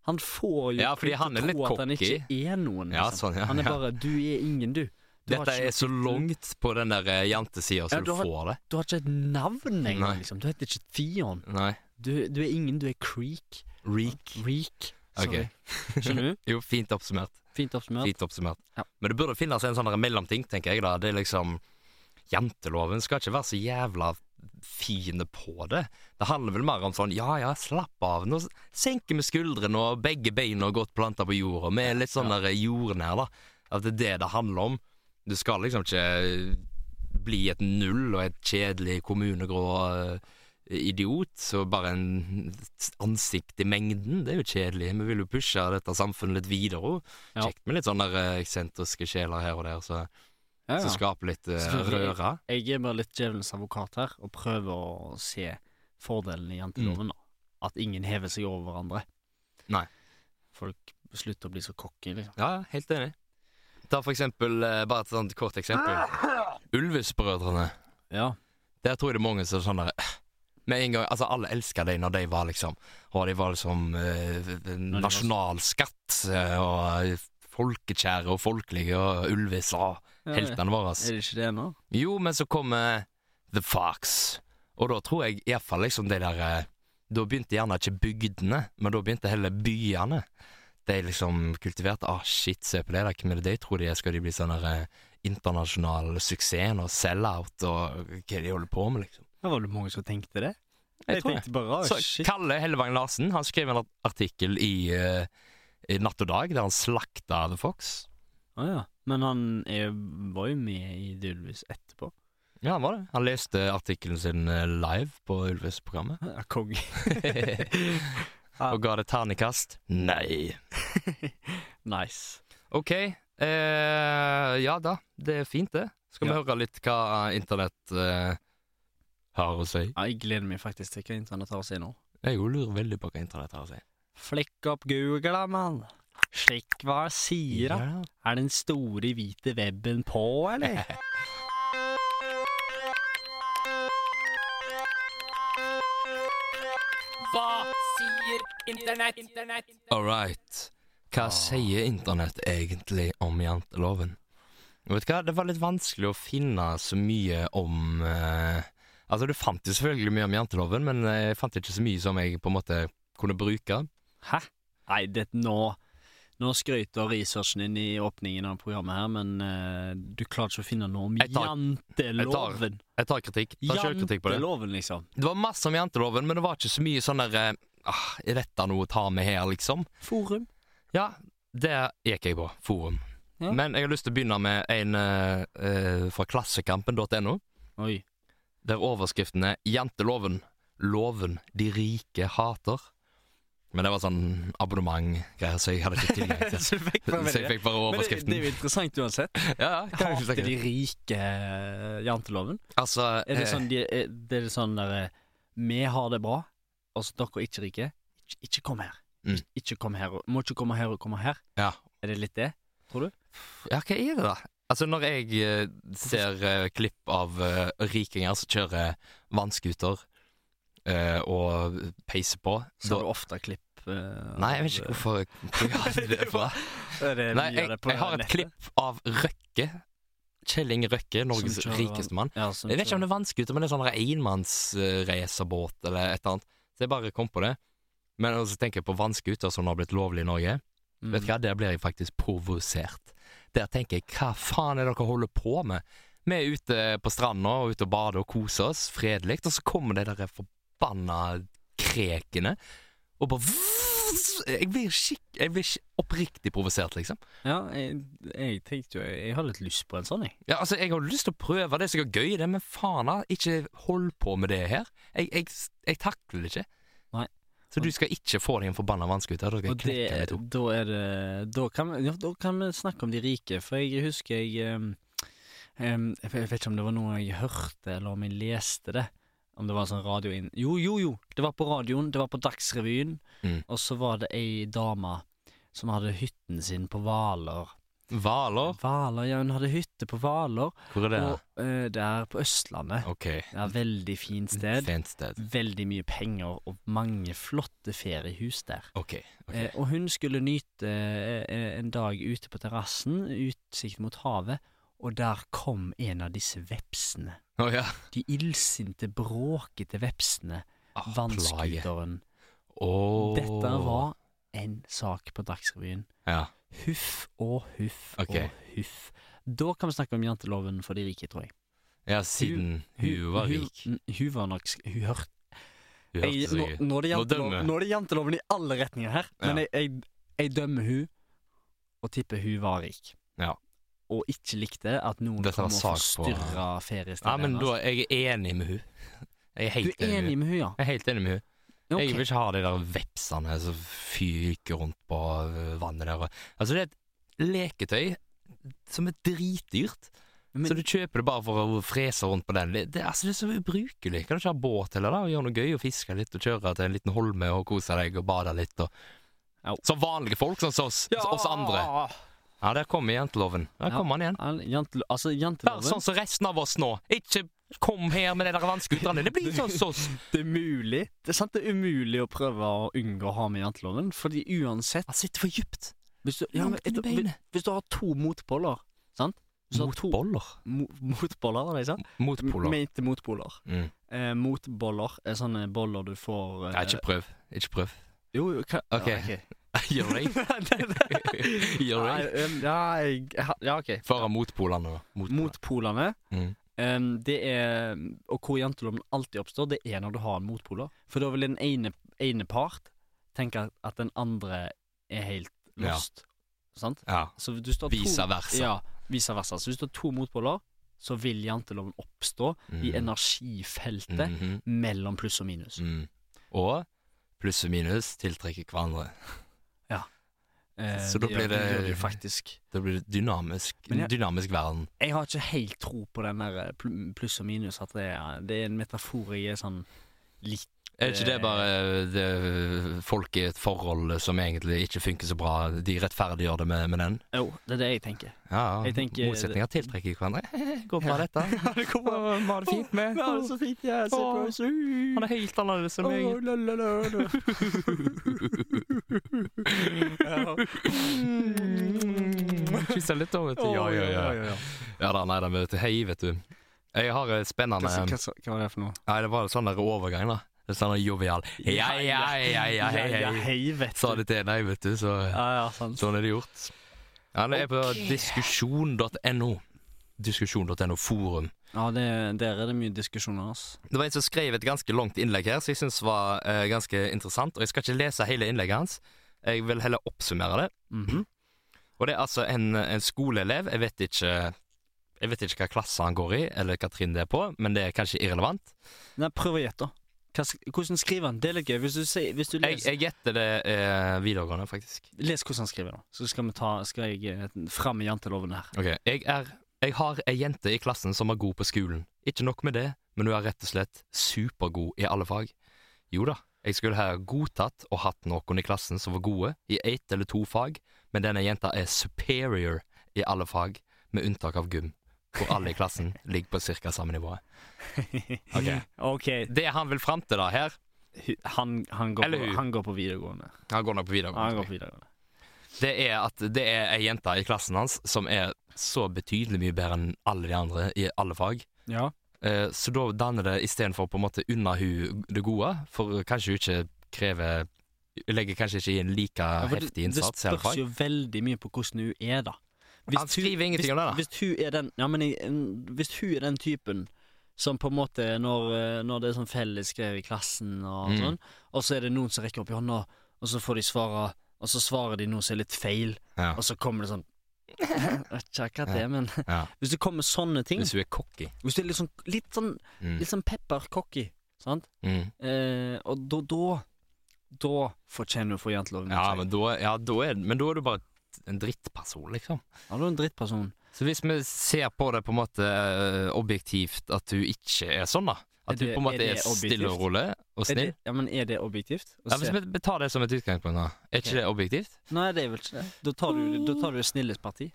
Speaker 1: Han får jo
Speaker 2: Ja, fordi
Speaker 1: folk
Speaker 2: han er
Speaker 1: til å
Speaker 2: litt
Speaker 1: tro at han
Speaker 2: cocky.
Speaker 1: ikke er noen.
Speaker 2: Ja,
Speaker 1: liksom.
Speaker 2: sånn, ja,
Speaker 1: Han er
Speaker 2: ja.
Speaker 1: bare 'du er ingen, du'. Du har
Speaker 2: Dette
Speaker 1: ikke
Speaker 2: er så
Speaker 1: noe tittel.
Speaker 2: langt på den der eh, jantesida
Speaker 1: Ja, du
Speaker 2: så du
Speaker 1: har-
Speaker 2: får det.
Speaker 1: Du har ikke et navn
Speaker 2: Nei.
Speaker 1: engang, liksom. Du heter ikke Theon.
Speaker 2: Nei.
Speaker 1: Du, du er ingen, du er Creek.
Speaker 2: Reek.
Speaker 1: Reek.
Speaker 2: Ok.
Speaker 1: Sorry. Skjønner du?
Speaker 2: Jo, fint oppsummert.
Speaker 1: Fint oppsummert.
Speaker 2: Fint oppsummert.
Speaker 1: Ja.
Speaker 2: Men det burde finnes en sånn der mellomting, tenker jeg. da Det er liksom Janteloven skal ikke være så jævla fine på det. Det handler vel mer om sånn ja ja, slapp av. Nå s- senker vi skuldrene og begge beina er godt planta på jorda. Vi er litt sånn der jordnær, da. At det er det det handler om. Du skal liksom ikke bli et null og et kjedelig kommunegrå eh, idiot og bare en ansikt i mengden. Det er jo kjedelig. Vi vil jo pushe dette samfunnet litt videre. også.
Speaker 1: Ja.
Speaker 2: Kjekt med litt sånne eh, eksentriske sjeler her og der, så,
Speaker 1: Ja,
Speaker 2: som
Speaker 1: ja.
Speaker 2: skaper litt eh,
Speaker 1: Selvfølgelig.
Speaker 2: røre.
Speaker 1: Jeg er bare litt djevelens advokat her, og prøver å se fordelen i janteloven. da. At ingen hever seg over hverandre.
Speaker 2: Mm. Nei.
Speaker 1: Folk slutter å bli så cocky, liksom.
Speaker 2: Ja, ja, helt enig. Ta for eksempel, eh, bare et sånt kort eksempel. Ulvis-brødrene.
Speaker 1: Ja.
Speaker 2: Der tror jeg det er mange som er sånn der eh, med en gang, altså Alle elska dem når de var liksom Og de var liksom eh, en
Speaker 1: de var-
Speaker 2: nasjonalskatt eh, og folkekjære og folkelige og Ulvis og heltene våre.
Speaker 1: Er det ikke det nå?
Speaker 2: Jo, men så kommer The Fox. Og da tror jeg iallfall liksom de der eh, Da begynte gjerne ikke bygdene, men da begynte heller byene. De liksom kultiverte Ah, shit, se på det der. Hvem er det de tror de er? Skal de bli sånn der eh, internasjonal suksess og sell-out og hva er det de holder på med, liksom?
Speaker 1: Ja, var det mange som tenkte det?
Speaker 2: Jeg tror
Speaker 1: tenkte bare
Speaker 2: Så
Speaker 1: «Å, shit.
Speaker 2: Kalle Hellevang Larsen han skrev en art- artikkel i, eh, i Natt og Dag der han slakta The Fox.
Speaker 1: Å ja. Men han er, var jo med i Dylvis etterpå.
Speaker 2: Ja, han var det. Han leste artikkelen sin eh, live på Ulves-programmet.
Speaker 1: Ja, Kong.
Speaker 2: Og ga det ternekast? Nei.
Speaker 1: Nice.
Speaker 2: Ok, eh, ja da. Det er fint, det. Skal vi
Speaker 1: Ja.
Speaker 2: høre litt hva internett eh, har å si?
Speaker 1: Ja, jeg gleder meg faktisk til hva internett har å si nå.
Speaker 2: Jeg jo lurer veldig på hva internett har å si.
Speaker 1: Flikk opp Google, mann! Sjekk hva han sier, da. Er den store hvite webben på, eller?
Speaker 3: Hva sier internett? Internett.
Speaker 2: All right. Hva sier internett egentlig om janteloven? Vet du hva, det var litt vanskelig å finne så mye om eh, Altså, du fant jo selvfølgelig mye om janteloven, men eh, jeg fant ikke så mye som jeg på en måte kunne bruke.
Speaker 1: Hæ? Nei, det nå Nå skryter researchen din i åpningen av programmet her, men eh, du klarer ikke å finne noe om
Speaker 2: Jeg tar-
Speaker 1: janteloven.
Speaker 2: Jeg tar kritikk. Tar sjølkritikk på det.
Speaker 1: Janteloven, liksom.
Speaker 2: Det var masse om janteloven, men det var ikke så mye sånn der eh, ah, Er dette noe å ta med her, liksom?
Speaker 1: Forum.
Speaker 2: Ja, det gikk jeg på. Forum.
Speaker 1: Ja.
Speaker 2: Men jeg har lyst til å begynne med en eh, eh, fra Klassekampen.no.
Speaker 1: Oi.
Speaker 2: der overskriften er 'Janteloven'. Loven de rike hater. Men det var sånn abonnementgreier, så jeg hadde ikke tilgang til
Speaker 1: Så du fikk bare med
Speaker 2: Så jeg
Speaker 1: det.
Speaker 2: fikk bare
Speaker 1: Men det,
Speaker 2: overskriften.
Speaker 1: det er jo interessant uansett.
Speaker 2: Ja, ja, kan jeg ikke
Speaker 1: Hater de
Speaker 2: snakke.
Speaker 1: rike eh, janteloven?
Speaker 2: Altså,
Speaker 1: Er det
Speaker 2: eh,
Speaker 1: sånn, de, er, det er sånn der eh, Vi har det bra, altså dere ikke rike. Ikke, ikke kom her.
Speaker 2: Mm.
Speaker 1: Ikke kom her. og- Må ikke komme her og komme her.
Speaker 2: ja.
Speaker 1: Er det litt det?
Speaker 2: ja, hva er det, da? Altså, når jeg eh, ser eh, klipp av eh, rikinger som kjører vannskuter eh, og peiser på
Speaker 1: Så
Speaker 2: da,
Speaker 1: har du ofte klipp eh,
Speaker 2: Nei, jeg vet ikke
Speaker 1: av-
Speaker 2: hvorfor hvor jeg hadde det fra.
Speaker 1: Er det
Speaker 2: Nei,
Speaker 1: mye av
Speaker 2: jeg,
Speaker 1: det på
Speaker 2: jeg har et
Speaker 1: nettet?
Speaker 2: klipp av Røkke. Kjell Inge Røkke, Norges
Speaker 1: kjører vann-
Speaker 2: rikeste mann.
Speaker 1: Ja, sånn
Speaker 2: Jeg vet ikke om
Speaker 1: så-
Speaker 2: det er vannskuter, men det er sånn enmannsracerbåt eller et eller annet. Så jeg bare kom på det. Men så tenker jeg på vannskuter som har blitt lovlig i Norge.
Speaker 1: Mm.
Speaker 2: Vet du hva, Der blir jeg faktisk provosert. Der tenker jeg hva faen er det dere holder på med? Vi er ute på stranda og ute og bader og koser oss fredelig, og så kommer de der forbanna krekene og bare Jeg blir skikk... Jeg blir skik- oppriktig provosert, liksom.
Speaker 1: Mm. Ja, jeg, jeg tenkte jo Jeg har litt lyst på en sånn, jeg.
Speaker 2: Ja, altså, jeg har lyst til å prøve det er sikkert gøy, det, men faen, da, ikke hold på med det her. Jeg, jeg, jeg takler det ikke.
Speaker 1: Nei.
Speaker 2: Så du skal ikke få deg en forbanna vannskuter? Da
Speaker 1: Og
Speaker 2: skal jeg knekke
Speaker 1: det,
Speaker 2: meg to.
Speaker 1: da er det da kan, vi, ja, da kan vi snakke om de rike, for jeg husker jeg em, em, Jeg vet ikke om det var noe jeg hørte, eller om jeg leste det. Om det var en sånn radio inn... Jo, jo, jo! Det var på radioen, det var på Dagsrevyen.
Speaker 2: Mm.
Speaker 1: Og så var det ei dame som hadde hytten sin på Hvaler.
Speaker 2: Hvaler?
Speaker 1: Hvaler, ja, hun hadde hytte på Hvaler.
Speaker 2: Hvor er det?
Speaker 1: Og eh, det er på Østlandet.
Speaker 2: Ok.
Speaker 1: Det er veldig fint sted.
Speaker 2: Fint sted.
Speaker 1: Veldig mye penger og mange flotte feriehus der.
Speaker 2: Ok. ok.
Speaker 1: Eh, og hun skulle nyte eh, eh, en dag ute på terrassen, utsikt mot havet, og der kom en av disse vepsene.
Speaker 2: Å ja.
Speaker 1: De illsinte, bråkete vepsene.
Speaker 2: Ah, plage.
Speaker 1: Vannskuteren.
Speaker 2: Åh.
Speaker 1: Dette var en sak på Dagsrevyen.
Speaker 2: Ja.
Speaker 1: Huff og huff
Speaker 2: Ok.
Speaker 1: og huff. Da kan vi snakke om janteloven for de rike, tror jeg.
Speaker 2: ja, siden hun, var rik.
Speaker 1: Hun, hun var nok sk- Hun hørte
Speaker 2: Hun
Speaker 1: Jeg- nå,
Speaker 2: hørte seg
Speaker 1: nå, er det
Speaker 2: Nå
Speaker 1: jantelov,
Speaker 2: dømmer jeg.
Speaker 1: nå er det janteloven i alle retninger her, men
Speaker 2: Ja.
Speaker 1: jeg, jeg, jeg dømmer hun og tipper hun var rik.
Speaker 2: Ja.
Speaker 1: Og ikke likte at noen
Speaker 2: Dette var
Speaker 1: kom og
Speaker 2: sak på-
Speaker 1: forstyrra
Speaker 2: Ja,
Speaker 1: feriestedet
Speaker 2: men
Speaker 1: hennes.
Speaker 2: da er jeg enig med hun. Jeg er
Speaker 1: altså. Du
Speaker 2: helt
Speaker 1: er
Speaker 2: enig med hun.
Speaker 1: enig med hun, ja?
Speaker 2: Jeg er helt enig med hun.
Speaker 1: Ok.
Speaker 2: Jeg vil ikke ha de der vepsene som fyker rundt på øh, vannet der. og- Altså, det er et leketøy som er dritdyrt.
Speaker 1: Men-
Speaker 2: så du kjøper det bare for å frese rundt på den. Det, det, altså, det er så ubrukelig. Kan du ikke ha båt heller, da? Og gjøre noe gøy, og fiske litt, og kjøre til en liten holme og kose deg, og bade litt, og
Speaker 1: Au.
Speaker 2: Som vanlige folk, sånn som oss, som oss andre. Ja, der kommer janteloven. Der
Speaker 1: Ja.
Speaker 2: kommer han igjen.
Speaker 1: Ja, jantel, altså,
Speaker 2: Vær
Speaker 1: janteloven
Speaker 2: sånn som resten av oss nå. Ikke kom her med de der vannskuterne. Det blir sånn som oss.
Speaker 1: Det er mulig. Det er sant det er umulig å prøve å unngå å ha med janteloven, fordi uansett
Speaker 2: Han sitter for dypt.
Speaker 1: Hvis du, ja, men,
Speaker 2: Langt inn i
Speaker 1: hvis,
Speaker 2: beinet.
Speaker 1: hvis du har to motpoler, sant Hvis du har
Speaker 2: Mot
Speaker 1: to-
Speaker 2: boller.
Speaker 1: mo- Motpoler, var det jeg sa?
Speaker 2: Mot poler.
Speaker 1: Mente motpoler.
Speaker 2: Mm.
Speaker 1: Eh, motboller er sånne boller du får eh,
Speaker 2: Nei, ikke prøv. Ikke prøv.
Speaker 1: Jo, jo, hva
Speaker 2: Ok.
Speaker 1: Ja,
Speaker 2: Gjør det. Gjør
Speaker 1: Nei,
Speaker 2: det.
Speaker 1: em, ja, jeg, ja, ok.
Speaker 2: Føre mot polene. da. Mot polene.
Speaker 1: Motpolene.
Speaker 2: Mm.
Speaker 1: em, det er, og hvor janteloven alltid oppstår, det er når du har en motpoler. For da vil den ene, ene part tenke at- at den andre er helt
Speaker 2: Ja.
Speaker 1: lost. Sant?
Speaker 2: Ja.
Speaker 1: Så du står
Speaker 2: Vice
Speaker 1: to,
Speaker 2: versa.
Speaker 1: ja, vice versa. Så hvis du har to motpoler, så vil janteloven oppstå i
Speaker 2: Mm.
Speaker 1: energifeltet
Speaker 2: Mhm.
Speaker 1: mellom pluss og minus.
Speaker 2: Mm. Og pluss og minus tiltrekker hverandre.
Speaker 1: Eh,
Speaker 2: Så da
Speaker 1: det
Speaker 2: blir
Speaker 1: gjør-
Speaker 2: det-
Speaker 1: gjør de jo faktisk.
Speaker 2: Det blir det dynamisk,
Speaker 1: Men jeg-
Speaker 2: dynamisk verden.
Speaker 1: Jeg eh, har ikke helt tro på den der pl- pluss og minus, at det er, det er en metafor jeg er sånn litt
Speaker 2: Er ikke
Speaker 1: Eh.
Speaker 2: det bare det, folk i et forhold som egentlig ikke funker så bra, de rettferdiggjør det med, med den?
Speaker 1: Jo, det er det jeg tenker.
Speaker 2: Ja,
Speaker 1: Jeg tenker-
Speaker 2: Motsetninger tiltrekker hverandre. Går
Speaker 1: bra,
Speaker 2: dette.
Speaker 1: det kommer
Speaker 2: Vi har det fint med.
Speaker 1: så fint, jeg er
Speaker 2: Åh, Han er helt annerledes enn meg. Kysser litt over til Ja, ja, ja. Ja da, nei da, vet du. Hei, vet du. Jeg har et
Speaker 1: Hva,
Speaker 2: spennende
Speaker 1: hva, hva var det for noe?
Speaker 2: Nei, det var en sånn der overgang, da. Det er Sånn der jovial Ja, ja, ja, ja, hei,
Speaker 1: ja,
Speaker 2: hei.
Speaker 1: hei, vet
Speaker 2: Sa
Speaker 1: du.
Speaker 2: det til deg, vet du, så
Speaker 1: Ja, ja, sant.
Speaker 2: sånn er det gjort. Ja, det er på
Speaker 1: Ok.
Speaker 2: diskusjon.no. Diskusjon.no forum.
Speaker 1: Ja, det, der er det mye diskusjoner, ass.
Speaker 2: Det var en som skrev et ganske langt innlegg her, som jeg syns var eh, ganske interessant. Og jeg skal ikke lese hele innlegget hans, jeg vil heller oppsummere det.
Speaker 1: Mhm.
Speaker 2: Og det er altså en, en skoleelev, jeg vet ikke jeg vet ikke hva klasse han går i, eller hva trinn det er på, men det er kanskje irrelevant.
Speaker 1: Nei, prøv å gjette, da. Hva sk- Hvordan skriver han? Det er litt gøy. Hvis du, sier- hvis du
Speaker 2: Jeg,
Speaker 1: leser
Speaker 2: jeg gjetter det eh, videregående, faktisk.
Speaker 1: Les hvordan han skriver, da. Så skal, vi ta, skal jeg eh, fram med janteloven her.
Speaker 2: Ok, jeg, er, jeg har ei jente i klassen som er god på skolen. Ikke nok med det, men hun er rett og slett supergod i alle fag. Jo da, jeg skulle ha godtatt og hatt noen i klassen som var gode i ett eller to fag, men denne jenta er superior i alle fag, med unntak av gym, hvor alle i klassen ligger på ca. samme nivået. Ok.
Speaker 1: OK.
Speaker 2: Det han vil fram til da her
Speaker 1: hu- Han, han, går,
Speaker 2: Eller
Speaker 1: på,
Speaker 2: hun.
Speaker 1: han går på videregående.
Speaker 2: Han går nok på
Speaker 1: Ja, han går
Speaker 2: videregående.
Speaker 1: på videregående.
Speaker 2: Det er at det er ei jente i klassen hans som er så betydelig mye bedre enn alle de andre i alle fag.
Speaker 1: Ja.
Speaker 2: Eh, Så da danner det istedenfor på en måte unna hun det gode, for kanskje hun ikke krever Legger kanskje ikke inn like
Speaker 1: for
Speaker 2: heftig innsats. i
Speaker 1: Det
Speaker 2: alle
Speaker 1: spørs
Speaker 2: fall.
Speaker 1: jo veldig mye på hvordan hun er, da.
Speaker 2: Han skriver ingenting
Speaker 1: hvis,
Speaker 2: om det, da.
Speaker 1: Hvis hun er den, ja, men jeg, en- hvis hun er den typen som på en måte når, eh, når det er sånn fellesskrev i klassen og
Speaker 2: Mm.
Speaker 1: sånn, og så er det noen som rekker opp i hånda, og så får de svare, og så svarer de noe som er litt feil,
Speaker 2: Ja.
Speaker 1: og så kommer det sånn Vet ikke akkurat det, men
Speaker 2: Ja.
Speaker 1: hvis det kommer sånne ting,
Speaker 2: Hvis hun er cocky.
Speaker 1: hvis du er litt sånn, litt sånn,
Speaker 2: Mm.
Speaker 1: litt sånn pepper-cocky, sant,
Speaker 2: Mm.
Speaker 1: eh, og da, da da fortjener du å få janteloven.
Speaker 2: Ja, men da, ja da er, men da er du bare en drittperson, liksom.
Speaker 1: Ja, du er en drittperson.
Speaker 2: Så hvis vi ser på det på en måte eh, objektivt at hun ikke er sånn, da.
Speaker 1: Er
Speaker 2: At hun
Speaker 1: det-
Speaker 2: på en måte
Speaker 1: er
Speaker 2: er,
Speaker 1: det
Speaker 2: stille
Speaker 1: objektivt?
Speaker 2: og rolig og
Speaker 1: Er det,
Speaker 2: snill.
Speaker 1: ja, men er det objektivt? å
Speaker 2: Ja,
Speaker 1: se?
Speaker 2: hvis vi vi tar det som et utgangspunkt, da. Er
Speaker 1: Ok.
Speaker 2: ikke det objektivt?
Speaker 1: Nei, det er vel ikke det. Da tar du, da tar du snillest parti.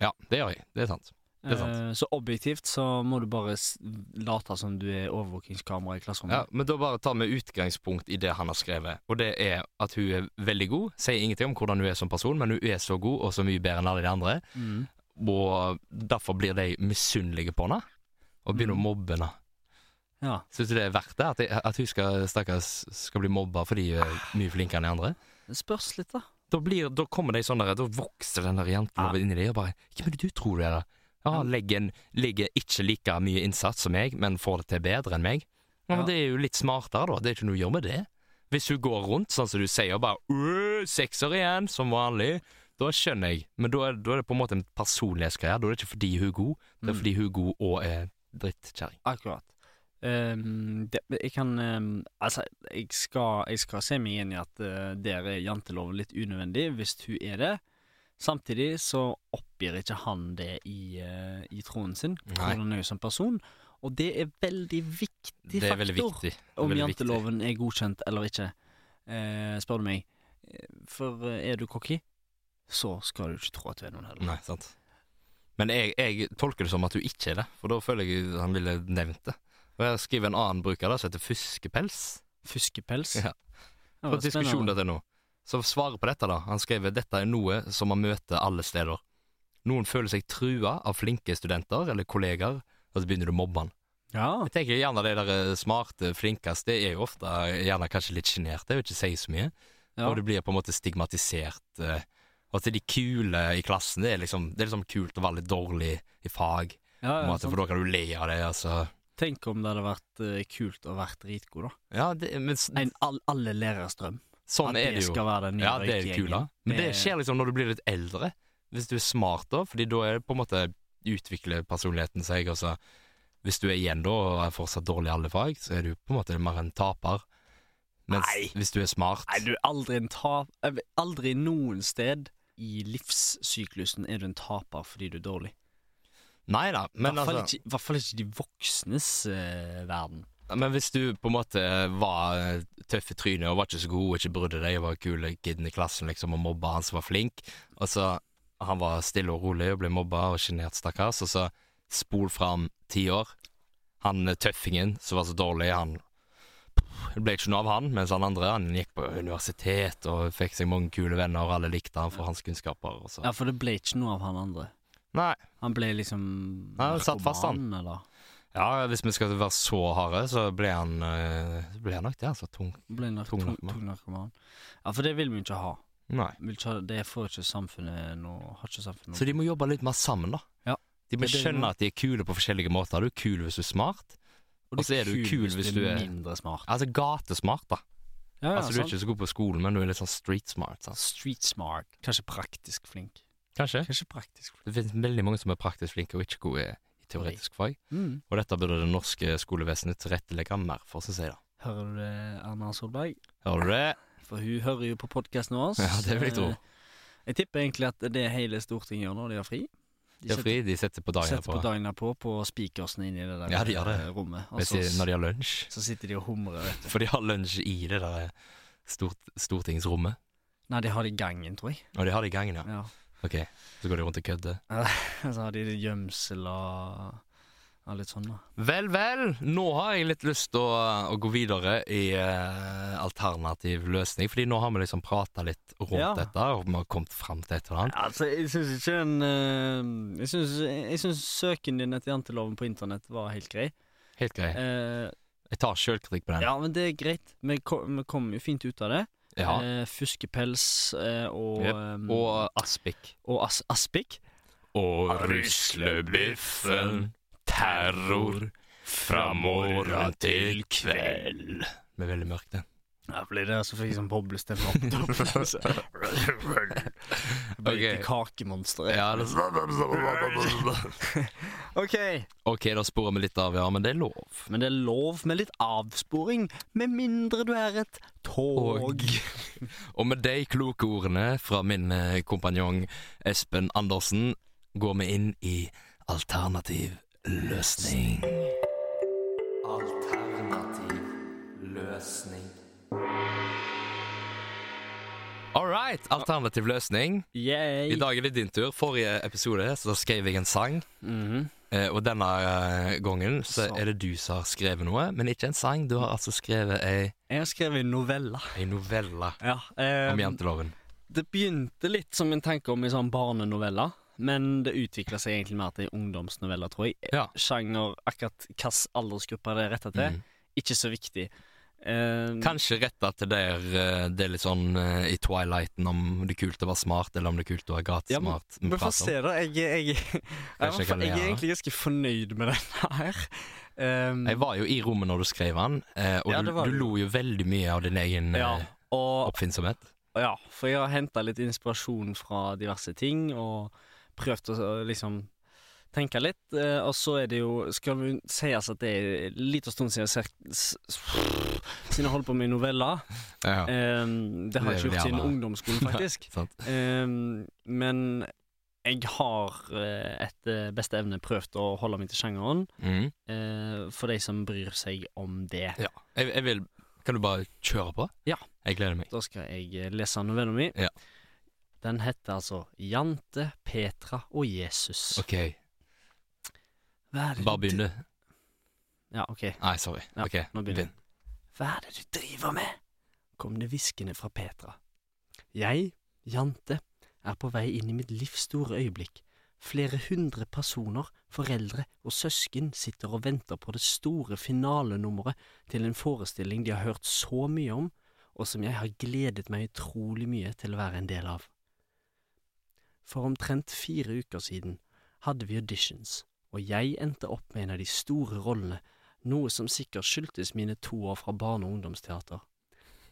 Speaker 2: Ja, det gjør jeg. Det er sant. Det er sant.
Speaker 1: Eh, så objektivt så må du bare s- late som du er overvåkingskamera i
Speaker 2: Ja,
Speaker 1: klasserommet.
Speaker 2: men da bare tar vi utgangspunkt i det han har skrevet, og det er at hun er veldig god. Sier ingenting om hvordan hun er som person, men hun er så god og så mye bedre enn alle de andre,
Speaker 1: Mm.
Speaker 2: og derfor blir de misunnelige på henne og begynner å mobbe henne.
Speaker 1: Ja.
Speaker 2: Syns du det er verdt det? At, at hun skal, stakkars, skal bli mobba fordi hun er mye flinkere enn de andre?
Speaker 1: Det spørs litt, da.
Speaker 2: Da, blir, da kommer de sånn der, da vokser den der jenten
Speaker 1: Ja.
Speaker 2: over inni deg og bare Hvem er det du tror du er, da?
Speaker 1: Ja.
Speaker 2: Ja, legger, en- legger ikke like mye innsats som meg, men får det til bedre enn meg. Ja,
Speaker 1: Ja.
Speaker 2: men Det er jo litt smartere, da. Det er ikke noe å gjøre med det. Hvis hun går rundt sånn som du sier, og bare «Øh, sekser igjen, som vanlig, da skjønner jeg. Men da er, da er det på en måte en personlighetsgreie. Da er det ikke fordi hun er god, det er
Speaker 1: Mm.
Speaker 2: fordi hun er god og er drittkjerring.
Speaker 1: Akkurat. Ehm, det, jeg kan ehm, Altså, jeg skal, jeg skal se meg igjen i at eh, der er janteloven litt unødvendig, hvis hun er det. Samtidig så oppgir ikke han det i, eh, i troen sin,
Speaker 2: Nei.
Speaker 1: hvordan hun er som person. Og det er veldig viktig
Speaker 2: Det er veldig
Speaker 1: faktor.
Speaker 2: viktig. Det er
Speaker 1: om
Speaker 2: veldig viktig.
Speaker 1: janteloven er godkjent eller ikke, eh, spør du meg. Eh, For eh, er du cocky, så skal du ikke tro at du er noen heller.
Speaker 2: Nei, sant. Men jeg, jeg tolker det som at hun ikke er det, for da føler jeg han ville nevnt det. Og jeg skriver en annen bruker da, som heter Fuskepels.
Speaker 1: Fuskepels.
Speaker 2: Ja.
Speaker 1: Det var
Speaker 2: På diskusjon
Speaker 1: spennende.
Speaker 2: dette nå. Så svaret på dette, da. Han skrev dette er noe som man møter alle steder. Noen føler seg trua av flinke studenter eller kollegaer, og så begynner du å mobbe han.
Speaker 1: Ja.
Speaker 2: Jeg tenker gjerne de der eh, smarte, flinkeste er jo ofte eh, gjerne kanskje litt sjenerte og ikke sier så mye.
Speaker 1: ja.
Speaker 2: Og du blir på en måte stigmatisert. eh, Og til de kule i klassen, det er liksom, det er liksom kult å være litt dårlig i fag.
Speaker 1: ja,
Speaker 2: på en
Speaker 1: ja
Speaker 2: måte,
Speaker 1: sant.
Speaker 2: for da kan du le av det. Altså.
Speaker 1: Tenk om det hadde vært eh, kult å være dritgod, da.
Speaker 2: Ja, det, men s-
Speaker 1: En, all, alle læreres drøm.
Speaker 2: Mm. sånn
Speaker 1: At
Speaker 2: er det jo.
Speaker 1: skal være den nye
Speaker 2: Ja, det er
Speaker 1: røykegjengen.
Speaker 2: kula. Men det
Speaker 1: Det-
Speaker 2: skjer liksom når du blir litt eldre, hvis du er smart da, fordi da er det på en måte utvikler personligheten seg, og så hvis du er igjen da og er fortsatt dårlig i alle fag, så er du på en måte mer en taper. Mens
Speaker 1: Nei.
Speaker 2: hvis du er smart
Speaker 1: Nei, du er aldri en tap... eh, Aldri noen sted i livssyklusen er du en taper fordi du er dårlig.
Speaker 2: Nei da,
Speaker 1: I
Speaker 2: men
Speaker 1: hvert fall
Speaker 2: altså
Speaker 1: ikke, i hvert fall ikke de voksnes eh, verden.
Speaker 2: Men hvis du på en måte var eh, tøff i trynet og var ikke så god og ikke brydde deg og var kule kiden i klassen liksom, og mobba han som var flink, og så han var stille og rolig og ble mobba og sjenert, stakkars, og så spol fram ti år. Han eh, tøffingen som var så dårlig, han det ble ikke noe av han, mens han andre han gikk på universitet og fikk seg mange kule venner, og alle likte han for hans kunnskaper. Og så.
Speaker 1: Ja, for det ble ikke noe av han andre.
Speaker 2: Nei,
Speaker 1: Han ble liksom
Speaker 2: Ja, han satt fast, han.
Speaker 1: narkoman, Eller?
Speaker 2: ja, hvis vi skal være så harde, så ble han, eh, så ble han nok det, altså. Tung.
Speaker 1: Ble nark
Speaker 2: Tung
Speaker 1: tung,
Speaker 2: narkoman.
Speaker 1: tung narkoman. Ja, for det vil vi ikke ha.
Speaker 2: Nei.
Speaker 1: Vi Vil ikke ha det får ikke samfunnet noe Har ikke samfunnet
Speaker 2: Så
Speaker 1: noe
Speaker 2: de må jobbe litt mer sammen, da.
Speaker 1: Ja.
Speaker 2: De må
Speaker 1: Det er det de må.
Speaker 2: skjønne at de er kule på forskjellige måter. Du er kul hvis du er smart.
Speaker 1: Og
Speaker 2: så er du kul hvis du er-
Speaker 1: mindre smart.
Speaker 2: Altså gatesmart, da.
Speaker 1: Ja, ja,
Speaker 2: altså Du er
Speaker 1: sant.
Speaker 2: ikke så god på skolen, men du er litt sånn street smart. Sant?
Speaker 1: Street smart. Kanskje praktisk flink.
Speaker 2: Kanskje.
Speaker 1: Kanskje praktisk flink.
Speaker 2: Det finnes veldig mange som er praktisk flinke og ikke gode i teoretisk fag.
Speaker 1: Mm.
Speaker 2: Og dette burde det norske skolevesenet tilrettelegge mer for, syns jeg, da.
Speaker 1: Hører du det, Erna Solberg?
Speaker 2: Hører du det?
Speaker 1: For hun hører jo på podkasten vår.
Speaker 2: Ja, det vil jeg tro.
Speaker 1: Eh, Jeg tipper egentlig at det er hele Stortinget gjør nå, de har fri.
Speaker 2: De er fri, de setter på dagen
Speaker 1: Setter på
Speaker 2: på.
Speaker 1: dagen derpå på spikersene inni det der
Speaker 2: Ja, de gjør det.
Speaker 1: eh, rommet. Og
Speaker 2: Hvis
Speaker 1: så,
Speaker 2: de, når de har lunsj.
Speaker 1: så sitter de og humrer. vet du.
Speaker 2: For de har lunsj i det der stort, stortingsrommet.
Speaker 1: Nei, de har det i gangen, tror jeg.
Speaker 2: Og de har det i gangen, ja.
Speaker 1: Ja.
Speaker 2: Ok, så går de rundt og kødder.
Speaker 1: Så har de gjemsel og, og litt sånn, da.
Speaker 2: Vel, vel, nå har jeg litt lyst til å, å gå videre i eh, alternativ løsning, fordi nå har vi liksom prata litt rundt
Speaker 1: Ja.
Speaker 2: dette, og vi har kommet fram til et eller annet.
Speaker 1: Altså, jeg syns ikke en eh, Jeg syns- Jeg syns søken din etter janteloven på internett var helt grei.
Speaker 2: Helt grei.
Speaker 1: Eh,
Speaker 2: Jeg tar sjølkritikk på den.
Speaker 1: ja, men det er greit. Vi kom, vi kom jo fint ut av det.
Speaker 2: Ja.
Speaker 1: Eh, fuskepels eh, og,
Speaker 2: Jep.
Speaker 1: eh,
Speaker 2: Og aspik.
Speaker 1: og as aspik.
Speaker 2: Og
Speaker 3: ruslebiffen, terror,
Speaker 2: fra
Speaker 3: morgen til
Speaker 2: kveld. Det er veldig mørkt, det.
Speaker 1: Ja, fordi det er så fikk jeg sånn boblestemme opp toppen. så- Blir
Speaker 2: Ok.
Speaker 1: til kakemonsteret.
Speaker 2: Ja, det-
Speaker 1: Ok.
Speaker 2: OK, da sporer vi litt av, ja, men det er lov.
Speaker 1: Men det er lov med litt avsporing, med mindre du er et tog.
Speaker 2: Og, og med de kloke ordene fra min eh, kompanjong Espen Andersen går vi inn i alternativ løsning. Alternativ løsning. All right, alternativ løsning.
Speaker 1: Yay.
Speaker 2: I dag er det din tur. Forrige episode så skrev jeg en sang.
Speaker 1: Mhm.
Speaker 2: eh, Og denne eh, gangen så
Speaker 1: Så.
Speaker 2: er det du som har skrevet noe, men ikke en sang. Du har altså skrevet ei,
Speaker 1: Jeg har skrevet en novelle.
Speaker 2: ei novelle
Speaker 1: Ja, eh,
Speaker 2: om janteloven.
Speaker 1: det begynte litt som en tanke om en sånn barnenovelle, men det utvikla seg egentlig mer til en ungdomsnovelle, tror jeg.
Speaker 2: Ja.
Speaker 1: Sjanger, akkurat hvilken aldersgruppe det er retta til,
Speaker 2: Mm.
Speaker 1: ikke så viktig. Eh,
Speaker 2: Kanskje retta til der eh, det er litt sånn eh, i Twilighten om det er kult å være smart, eller om det er kult å være
Speaker 1: Ja, men-
Speaker 2: gatesmart.
Speaker 1: Vi får se, da. Jeg, jeg, jeg, jeg,
Speaker 2: jeg kan
Speaker 1: jeg er
Speaker 2: lære.
Speaker 1: egentlig ganske fornøyd med denne her. Um,
Speaker 2: Jeg var jo i rommet når du skrev den, eh, og
Speaker 1: Ja,
Speaker 2: du,
Speaker 1: det var
Speaker 2: du
Speaker 1: du.
Speaker 2: lo jo veldig mye av din egen eh,
Speaker 1: ja, og,
Speaker 2: oppfinnsomhet.
Speaker 1: ja, for jeg har henta litt inspirasjon fra diverse ting, og prøvd å liksom tenke litt. eh, og så er det jo Skal vi sies at det er liten stund siden jeg ser, s- s- Siden jeg holdt på med noveller.
Speaker 2: Ja,
Speaker 1: Um, det har jeg ikke
Speaker 2: Det er vel
Speaker 1: gjort siden
Speaker 2: gjerne-
Speaker 1: ungdomsskolen, faktisk.
Speaker 2: sant?
Speaker 1: Ehm, men jeg har eh, etter beste evne prøvd å holde meg til sjangeren,
Speaker 2: Mm.
Speaker 1: eh, for de som bryr seg om det.
Speaker 2: Ja. Jeg, jeg vil Kan du bare kjøre på?
Speaker 1: Ja.
Speaker 2: Jeg gleder meg.
Speaker 1: Da skal jeg eh, lese novellen min.
Speaker 2: Ja.
Speaker 1: Den heter altså 'Jante, Petra og Jesus'.
Speaker 2: OK,
Speaker 1: Hva er det
Speaker 2: bare
Speaker 1: du-
Speaker 2: begynn, du.
Speaker 1: Ja, ok.
Speaker 2: Nei, sorry.
Speaker 1: Ja,
Speaker 2: OK,
Speaker 1: nå begynner
Speaker 2: begynn.
Speaker 1: Hva er det du driver med? kom det hviskende fra Petra. Jeg, Jante, er på vei inn i mitt livs store øyeblikk. Flere hundre personer, foreldre og søsken sitter og venter på det store finalenummeret til en forestilling de har hørt så mye om, og som jeg har gledet meg utrolig mye til å være en del av. For omtrent fire uker siden hadde vi auditions, og jeg endte opp med en av de store rollene, noe som sikkert skyldtes mine to år fra barne- og ungdomsteater.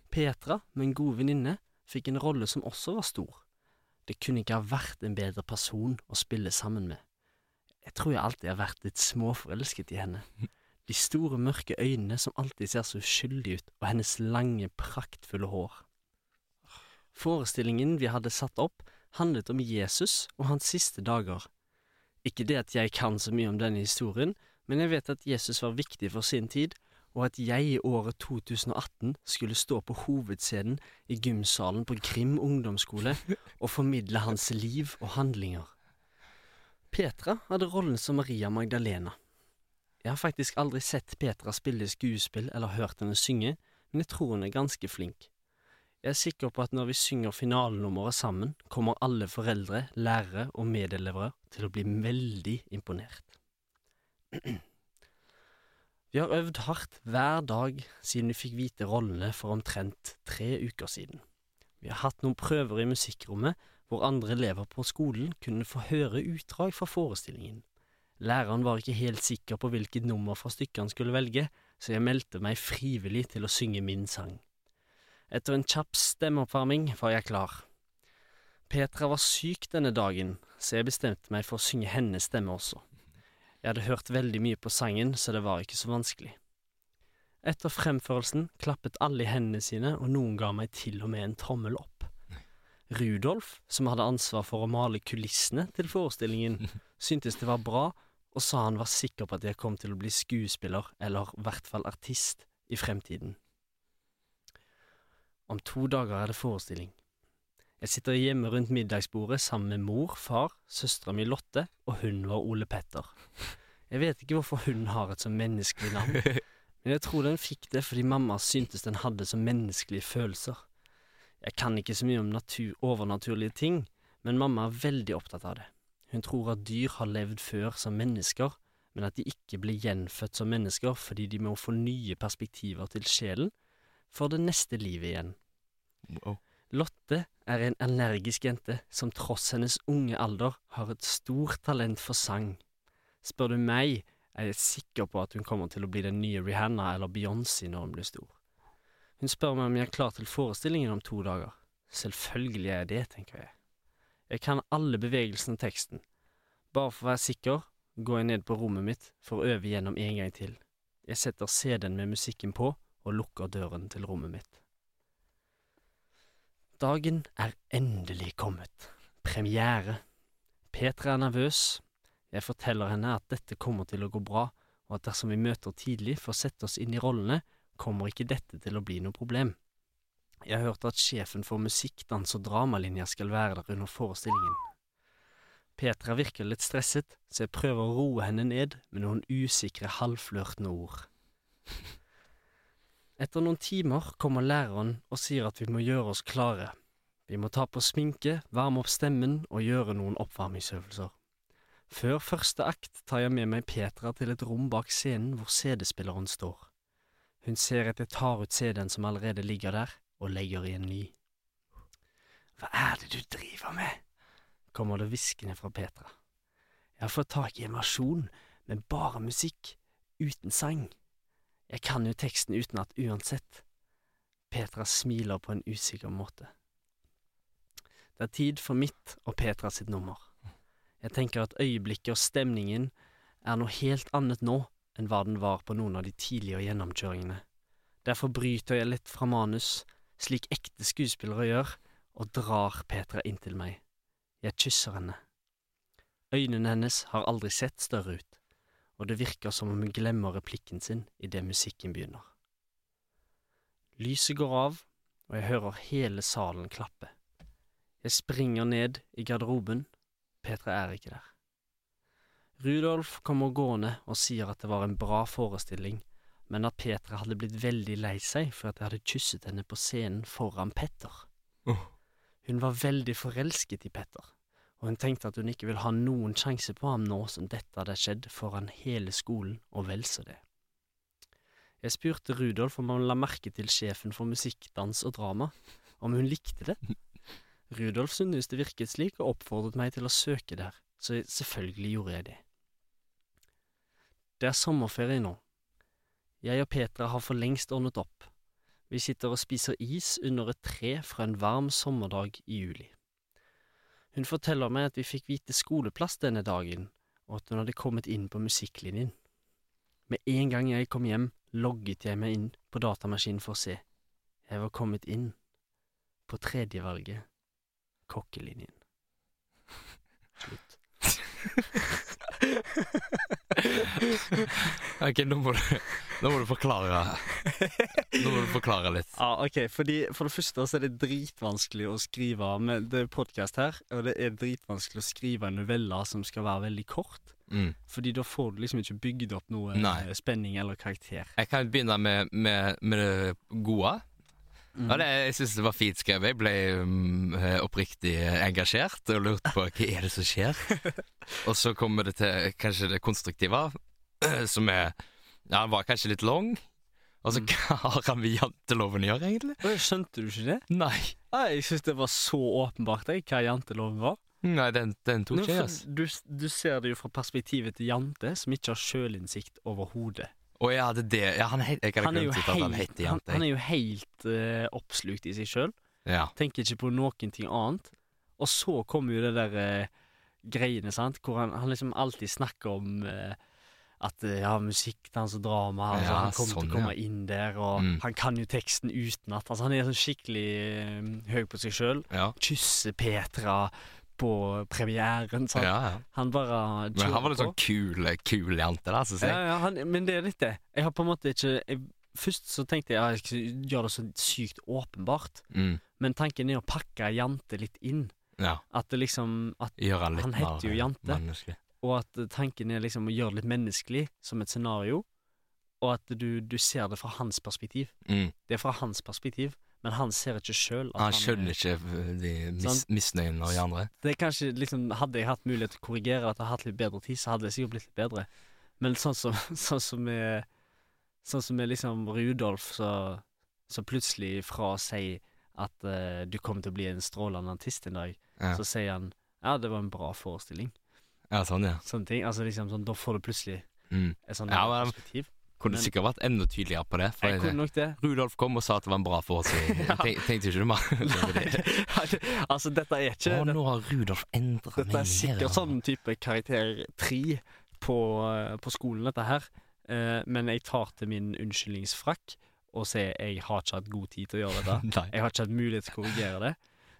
Speaker 1: Petra, min gode venninne, fikk en rolle som også var stor. Det kunne ikke ha vært en bedre person å spille sammen med. Jeg tror jeg alltid har vært litt småforelsket i henne. De store, mørke øynene som alltid ser så uskyldige ut, og hennes lange, praktfulle hår. Forestillingen vi hadde satt opp, handlet om Jesus og hans siste dager. Ikke det at jeg kan så mye om denne historien, men jeg vet at Jesus var viktig for sin tid, og at jeg i året 2018 skulle stå på hovedscenen i gymsalen på Grim ungdomsskole og formidle hans liv og handlinger. Petra hadde rollen som Maria Magdalena. Jeg har faktisk aldri sett Petra spille skuespill eller hørt henne synge, men jeg tror hun er ganske flink. Jeg er sikker på at når vi synger finalenummeret sammen, kommer alle foreldre, lærere og medelevere til å bli veldig imponert. Vi har øvd hardt hver dag siden vi fikk vite rollene for omtrent tre uker siden. Vi har hatt noen prøver i musikkrommet hvor andre elever på skolen kunne få høre utdrag fra forestillingen. Læreren var ikke helt sikker på hvilket nummer fra stykket han skulle velge, så jeg meldte meg frivillig til å synge min sang. Etter en kjapp stemmeoppvarming var jeg klar. Petra var syk denne dagen, så jeg bestemte meg for å synge hennes stemme også. Jeg hadde hørt veldig mye på sangen, så det var ikke så vanskelig. Etter fremførelsen klappet alle i hendene sine, og noen ga meg til og med en tommel opp. Rudolf, som hadde ansvar for å male kulissene til forestillingen, syntes det var bra, og sa han var sikker på at jeg kom til å bli skuespiller, eller i hvert fall artist, i fremtiden. Om to dager er det forestilling. Jeg sitter hjemme rundt middagsbordet sammen med mor, far, søstera mi Lotte og hun var Ole Petter. Jeg vet ikke hvorfor hun har et så menneskelig navn, men jeg tror den fikk det fordi mamma syntes den hadde så menneskelige følelser. Jeg kan ikke så mye om natur, overnaturlige ting, men mamma er veldig opptatt av det. Hun tror at dyr har levd før som mennesker, men at de ikke blir gjenfødt som mennesker fordi de må få nye perspektiver til sjelen for det neste livet igjen.
Speaker 2: Wow.
Speaker 1: Lotte er en energisk jente som tross hennes unge alder har et stort talent for sang. Spør du meg, er jeg sikker på at hun kommer til å bli den nye Rihanna eller Beyoncé når hun blir stor. Hun spør meg om jeg er klar til forestillingen om to dager. Selvfølgelig er jeg det, tenker jeg. Jeg kan alle bevegelsene og teksten. Bare for å være sikker går jeg ned på rommet mitt for å øve gjennom en gang til. Jeg setter CD-en med musikken på og lukker døren til rommet mitt. Dagen er endelig kommet. Premiere. Petra er nervøs. Jeg forteller henne at dette kommer til å gå bra, og at dersom vi møter tidlig for å sette oss inn i rollene, kommer ikke dette til å bli noe problem. Jeg har hørt at sjefen for musikk, dans og dramalinja skal være der under forestillingen. Petra virker litt stresset, så jeg prøver å roe henne ned med noen usikre, halvflørtende ord. Etter noen timer kommer læreren og sier at vi må gjøre oss klare. Vi må ta på sminke, varme opp stemmen og gjøre noen oppvarmingsøvelser. Før første akt tar jeg med meg Petra til et rom bak scenen hvor CD-spilleren står. Hun ser at jeg tar ut CD-en som allerede ligger der, og legger i en ny. Hva er det du driver med? kommer det hviskende fra Petra. Jeg har fått tak i en versjon med bare musikk, uten sang. Jeg kan jo teksten utenat uansett. Petra smiler på en usikker måte. Det er tid for mitt og Petra sitt nummer. Jeg tenker at øyeblikket og stemningen er noe helt annet nå enn hva den var på noen av de tidligere gjennomkjøringene. Derfor bryter jeg litt fra manus, slik ekte skuespillere gjør, og drar Petra inntil meg. Jeg kysser henne. Øynene hennes har aldri sett større ut og det virker som om hun glemmer replikken sin idet musikken begynner. Lyset går av, og jeg hører hele salen klappe. Jeg springer ned i garderoben. Petra er ikke der. Rudolf kommer gående og sier at det var en bra forestilling, men at Petra hadde blitt veldig lei seg for at jeg hadde kysset henne på scenen foran Petter.
Speaker 2: Åh.
Speaker 1: Hun var veldig forelsket i Petter, og hun tenkte at hun ikke ville ha noen sjanse på ham nå som dette hadde skjedd foran hele skolen, og vel så det. Jeg spurte Rudolf om han la merke til sjefen for musikk, dans og drama, om hun likte det. Rudolf syntes det virket slik, og oppfordret meg til å søke der, så selvfølgelig gjorde jeg det. Det er sommerferie nå. Jeg og Petra har for lengst ordnet opp. Vi sitter og spiser is under et tre fra en varm sommerdag i juli. Hun forteller meg at vi fikk vite skoleplass denne dagen, og at hun hadde kommet inn på musikklinjen. Med en gang jeg kom hjem, logget jeg meg inn på datamaskinen for å se. Jeg var kommet inn på tredjevalget, kokkelinjen. Slutt.
Speaker 2: Ok, nå må, du, nå må du forklare Nå må du forklare litt.
Speaker 1: Ja, ok, fordi For det første så er det dritvanskelig å skrive med Det er podkast her, og det er dritvanskelig å skrive en novelle som skal være veldig kort.
Speaker 2: Mm.
Speaker 1: Fordi da får du liksom ikke bygd opp noe
Speaker 2: Nei.
Speaker 1: eh, spenning eller karakter.
Speaker 2: Jeg kan begynne med, med, med det gode.
Speaker 1: Mm.
Speaker 2: Ja, det, jeg syns det var fint skrevet. Jeg ble mm, eh, oppriktig engasjert og lurte på hva er det som skjer. Og så kommer det til kanskje det konstruktive, eh, som er Ja, den var kanskje litt lang. Og
Speaker 1: Mm.
Speaker 2: så hva har han med janteloven å gjøre, egentlig?
Speaker 1: Oi, Skjønte du ikke det?
Speaker 2: Nei.
Speaker 1: Nei, Jeg syns det var så åpenbart jeg, hva janteloven var.
Speaker 2: Nei, den, den tok
Speaker 1: Nå,
Speaker 2: ikke jeg, altså.
Speaker 1: for
Speaker 2: ass.
Speaker 1: du, du ser det jo fra perspektivet til jante, som ikke har sjølinnsikt overhodet.
Speaker 2: Å ja, det er det. Ja, han het, jeg hadde
Speaker 1: Han, er jo
Speaker 2: glemt ut at han
Speaker 1: helt-
Speaker 2: heter
Speaker 1: han,
Speaker 2: jante.
Speaker 1: han er jo helt eh, oppslukt i seg sjøl.
Speaker 2: Ja.
Speaker 1: Tenker ikke på noen ting annet. Og så kommer jo det der eh, greiene, sant, hvor han, han liksom alltid snakker om eh, at eh, ja, musikkdans og drama altså,
Speaker 2: Ja,
Speaker 1: Han kommer
Speaker 2: sånn,
Speaker 1: til å komme inn der, og
Speaker 2: Mm.
Speaker 1: han kan jo teksten utenat. Altså, han er sånn skikkelig eh, høy på seg sjøl.
Speaker 2: Ja.
Speaker 1: Kysser Petra på premieren, sant.
Speaker 2: ja, ja.
Speaker 1: Han bare
Speaker 2: Men han var litt
Speaker 1: kjører på.
Speaker 2: sånn kul, kul jante, da, syns jeg.
Speaker 1: Ja, ja, han, men det er litt det. Jeg har på en måte ikke jeg, Først så tenkte jeg ja, jeg skal gjøre det så sykt åpenbart,
Speaker 2: Mm.
Speaker 1: men tanken er å pakke Jante litt inn.
Speaker 2: Ja.
Speaker 1: At det liksom at,
Speaker 2: Gjøre han litt
Speaker 1: Han heter jo
Speaker 2: mer, eh,
Speaker 1: Jante.
Speaker 2: menneskelig.
Speaker 1: Og at tanken er liksom å gjøre det litt menneskelig, som et scenario. Og at du, du ser det fra hans perspektiv.
Speaker 2: Mm.
Speaker 1: Det er fra hans perspektiv, men han ser ikke sjøl.
Speaker 2: Han Ah, skjønner ikke eh, de mis
Speaker 1: Sant?
Speaker 2: misnøyen av de andre.
Speaker 1: Det er kanskje liksom Hadde jeg hatt mulighet til å korrigere at jeg hadde hatt litt bedre tid, så hadde det sikkert blitt litt bedre. Men sånn som Sånn som med Sånn som med liksom Rudolf, så, så plutselig fra å si at eh, du kommer til å bli en strålende artist en dag,
Speaker 2: Ja.
Speaker 1: så sier han ja, det var en bra forestilling.
Speaker 2: Ja, sånn, ja.
Speaker 1: Sånne ting. Altså liksom sånn, Da får du plutselig
Speaker 2: Mm.
Speaker 1: et sånt
Speaker 2: Ja, men-
Speaker 1: perspektiv.
Speaker 2: Kunne
Speaker 1: Men-
Speaker 2: sikkert vært enda tydeligere på det. For
Speaker 1: Jeg kunne
Speaker 2: jeg,
Speaker 1: nok det.
Speaker 2: Rudolf kom og sa at det var en bra forestilling. Jeg tenk, tenkte ikke det mer. Det var det.
Speaker 1: altså, dette er ikke
Speaker 2: Å, nå har Rudolf endra
Speaker 1: Dette er sikkert sånn type karakter 3 på, eh, på skolen, dette her. Eh, men jeg tar til min unnskyldningsfrakk og sier jeg har ikke hatt god tid til å gjøre dette.
Speaker 2: Nei.
Speaker 1: Jeg har ikke hatt mulighet til å korrigere det.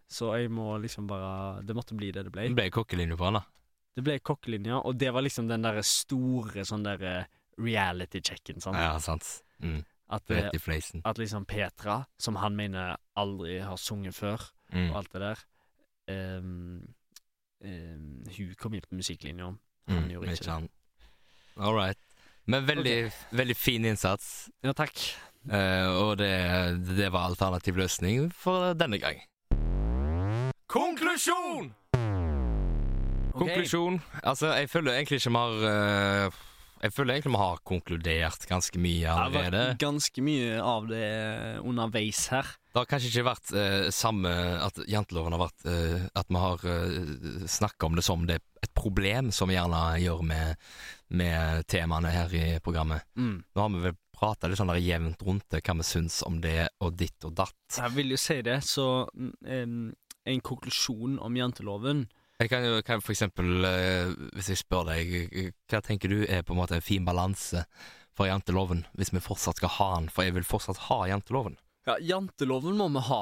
Speaker 1: Så jeg må liksom bare Det måtte bli det det ble.
Speaker 2: Det ble kokkelinje på han, da.
Speaker 1: Det ble kokkelinja, og det var liksom den derre store sånn derre reality-checken, sant.
Speaker 2: Ja, sant. Mm.
Speaker 1: At, eh,
Speaker 2: Rett i fleisen.
Speaker 1: at liksom Petra, som han mener aldri har sunget før,
Speaker 2: Mm.
Speaker 1: og alt det der. Ehm, ehm, hun kom inn på musikklinja. Han
Speaker 2: Mm.
Speaker 1: gjorde
Speaker 2: men
Speaker 1: ikke det.
Speaker 2: Ikke han. All right. Men veldig, veldig fin innsats,
Speaker 1: Ja, takk.
Speaker 2: eh, og det, det var alternativ løsning for denne gang.
Speaker 3: Konklusjon!
Speaker 2: Konklusjon. Altså, jeg føler egentlig ikke vi har eh, Jeg føler egentlig vi har konkludert ganske mye
Speaker 1: Det har
Speaker 2: allerede.
Speaker 1: vært ganske mye av det underveis her.
Speaker 2: Det har kanskje ikke vært eh, samme at janteloven har vært eh, At vi har uh, snakka om det som det et problem, som vi gjerne gjør med, med temaene her i programmet.
Speaker 1: Mm.
Speaker 2: Nå har vi vel prata litt sånn der jevnt rundt det, hva vi syns om det og ditt og datt.
Speaker 1: Jeg vil jo si det, så mm, em, en konklusjon om janteloven
Speaker 2: Jeg kan jo kan for eksempel, eh, hvis jeg spør deg, eh, hva tenker du er på en måte en fin balanse for janteloven, hvis vi fortsatt skal ha den? For jeg vil fortsatt ha janteloven.
Speaker 1: Ja, janteloven må vi ha,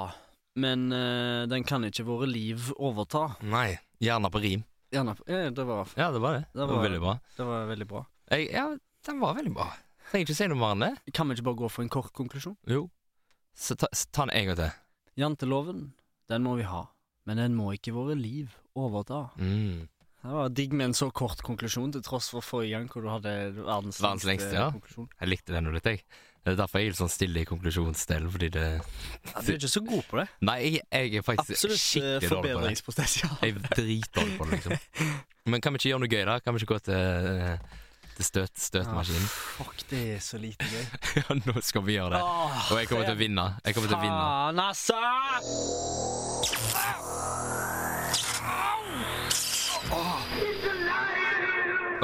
Speaker 1: men eh, den kan ikke våre liv overta.
Speaker 2: Nei. Gjerne på rim.
Speaker 1: Gjerne, eh, det, var,
Speaker 2: Ja, det var det. Det var,
Speaker 1: var-
Speaker 2: veldig bra.
Speaker 1: det var veldig bra.
Speaker 2: Jeg, ja, den var veldig bra. Trenger ikke si noe mer enn det.
Speaker 1: Kan vi ikke bare gå for en kort konklusjon?
Speaker 2: Jo. Så ta, så ta den en gang til.
Speaker 1: Janteloven, den må vi ha, men den må ikke våre liv overta.
Speaker 2: Mm.
Speaker 1: Det var digg med en så kort konklusjon, til tross for forrige gang hvor du hadde verdens,
Speaker 2: Verdens lengste, ja.
Speaker 1: konklusjon.
Speaker 2: Jeg likte den jo litt, jeg. Det er derfor jeg er litt sånn stille i konklusjonsdelen, fordi det
Speaker 1: Ja, du er ikke så god på det.
Speaker 2: Nei, jeg, jeg er faktisk
Speaker 1: Absolutt eh,
Speaker 2: skikkelig dårlig på det.
Speaker 1: forbedringspotensial.
Speaker 2: Jeg er dritdårlig på det, liksom. Men kan vi ikke gjøre noe gøy, da? Kan vi ikke gå til, eh, til støt, støtmaskinen?
Speaker 1: fuck, det er så lite gøy.
Speaker 2: Ja, nå skal vi gjøre det.
Speaker 1: Åh,
Speaker 2: Og jeg kommer til å vinne. Jeg kommer til å vinne.
Speaker 1: Faen, altså!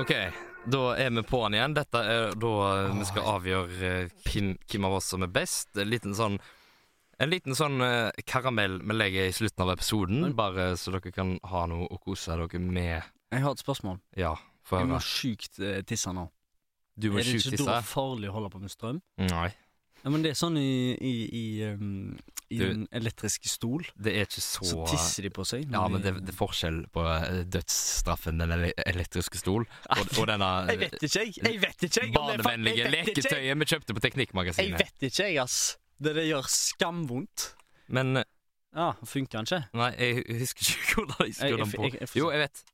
Speaker 2: Ok, da er vi på'n igjen. Dette er da eh, vi skal avgjøre eh, hvem, hvem av oss som er best. En liten sånn, en liten sånn eh, karamell vi legger i slutten av episoden,
Speaker 1: Men-
Speaker 2: bare så dere kan ha noe å kose dere med.
Speaker 1: Jeg har et spørsmål.
Speaker 2: Ja, få
Speaker 1: Jeg må
Speaker 2: høre.
Speaker 1: sjukt eh, tisse nå.
Speaker 2: Du må
Speaker 1: er det
Speaker 2: sjukt
Speaker 1: ikke da
Speaker 2: tisse.
Speaker 1: farlig å holde på med strøm?
Speaker 2: Nei.
Speaker 1: Ja, men det er sånn i, i, i, um, i
Speaker 2: Du-
Speaker 1: den elektriske stol.
Speaker 2: Det er ikke så,
Speaker 1: Så tisser de på seg. når
Speaker 2: Ja, men
Speaker 1: de-
Speaker 2: det, det er forskjell på eh, dødsstraffen, den ele- elektriske stol, og, og
Speaker 1: Jeg
Speaker 2: denne
Speaker 1: vet ikke, jeg! Jeg vet ikke! jeg, om det er fa-
Speaker 2: barnevennlige
Speaker 1: jeg vet ikke, jeg.
Speaker 2: leketøyet vi kjøpte på
Speaker 1: Jeg
Speaker 2: Teknikkmagasinet.
Speaker 1: vet ikke, jeg, ass. Det, det gjør skamvondt.
Speaker 2: Men eh,
Speaker 1: Ja, funker den ikke?
Speaker 2: nei, jeg husker ikke hvordan jeg
Speaker 1: Jeg-
Speaker 2: skrur den
Speaker 1: jeg-
Speaker 2: på.
Speaker 1: jeg- jeg får
Speaker 2: Jo,
Speaker 1: se.
Speaker 2: jeg vet.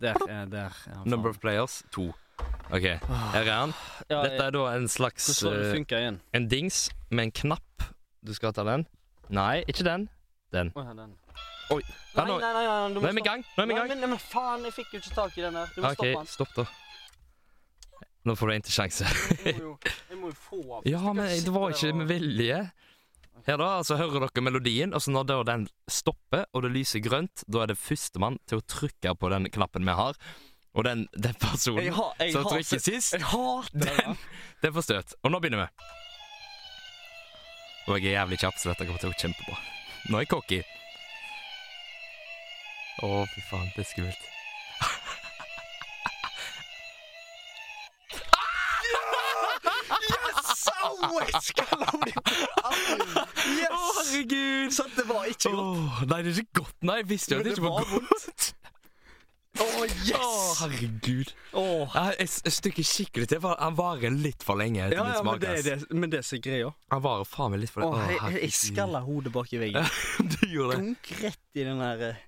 Speaker 1: Der. eh, der ja, faen.
Speaker 2: Number of players, to. OK, her er han.
Speaker 1: ja,
Speaker 2: Dette er da en slags
Speaker 1: Hvordan var det
Speaker 2: eh,
Speaker 1: det funka igjen?
Speaker 2: En dings med en knapp. Du skal ta den. Nei, ikke den. Den.
Speaker 1: Å, ja, den.
Speaker 2: Oi. Ja, nå,
Speaker 1: nei, nei, du
Speaker 2: nå er vi i gang. Nå er vi i gang.
Speaker 1: men, faen, jeg fikk jo ikke tak i den der. Du
Speaker 2: OK, stopp, da. Nå får du en til sjanse.
Speaker 1: Jeg må jo, jeg må jo få av
Speaker 2: Ja, men det var ikke med vilje. Her da, altså hører dere melodien, og så når da den stopper og det lyser grønt, da er det førstemann til å trykke på den knappen vi har. Og den, den personen
Speaker 1: har, jeg
Speaker 2: som
Speaker 1: har
Speaker 2: trykker
Speaker 1: sett-
Speaker 2: sist,
Speaker 1: Jeg hater det.
Speaker 2: den, den får støt. Og nå begynner vi. Og jeg er jævlig kjapp, så dette kommer til å gå kjempebra. Nå er jeg cocky. Å, fy faen, det er skummelt.
Speaker 1: Yes! Au, jeg skal la bli
Speaker 2: Å,
Speaker 1: Yes!
Speaker 2: herregud!
Speaker 1: Sant, det var ikke godt.
Speaker 2: Åh, nei, det er ikke godt. Nei, jeg visste jo at
Speaker 1: Men
Speaker 2: det
Speaker 1: det
Speaker 2: ikke var
Speaker 1: var
Speaker 2: godt.
Speaker 1: Å,
Speaker 2: Å,
Speaker 1: yes!
Speaker 2: herregud.
Speaker 1: Åh.
Speaker 2: Ja, Et et stykke skikkelig til. for Han varer litt for lenge. til
Speaker 1: Ja,
Speaker 2: min
Speaker 1: ja, men
Speaker 2: smak,
Speaker 1: det er
Speaker 2: ass.
Speaker 1: det, men det som er greia.
Speaker 2: Han varer faen meg litt for
Speaker 1: Åh,
Speaker 2: lenge. Å,
Speaker 1: jeg, jeg- jeg
Speaker 2: herregud.
Speaker 1: skalla hodet bak i veggen.
Speaker 2: Du gjorde det.
Speaker 1: Dunk rett i den der eh.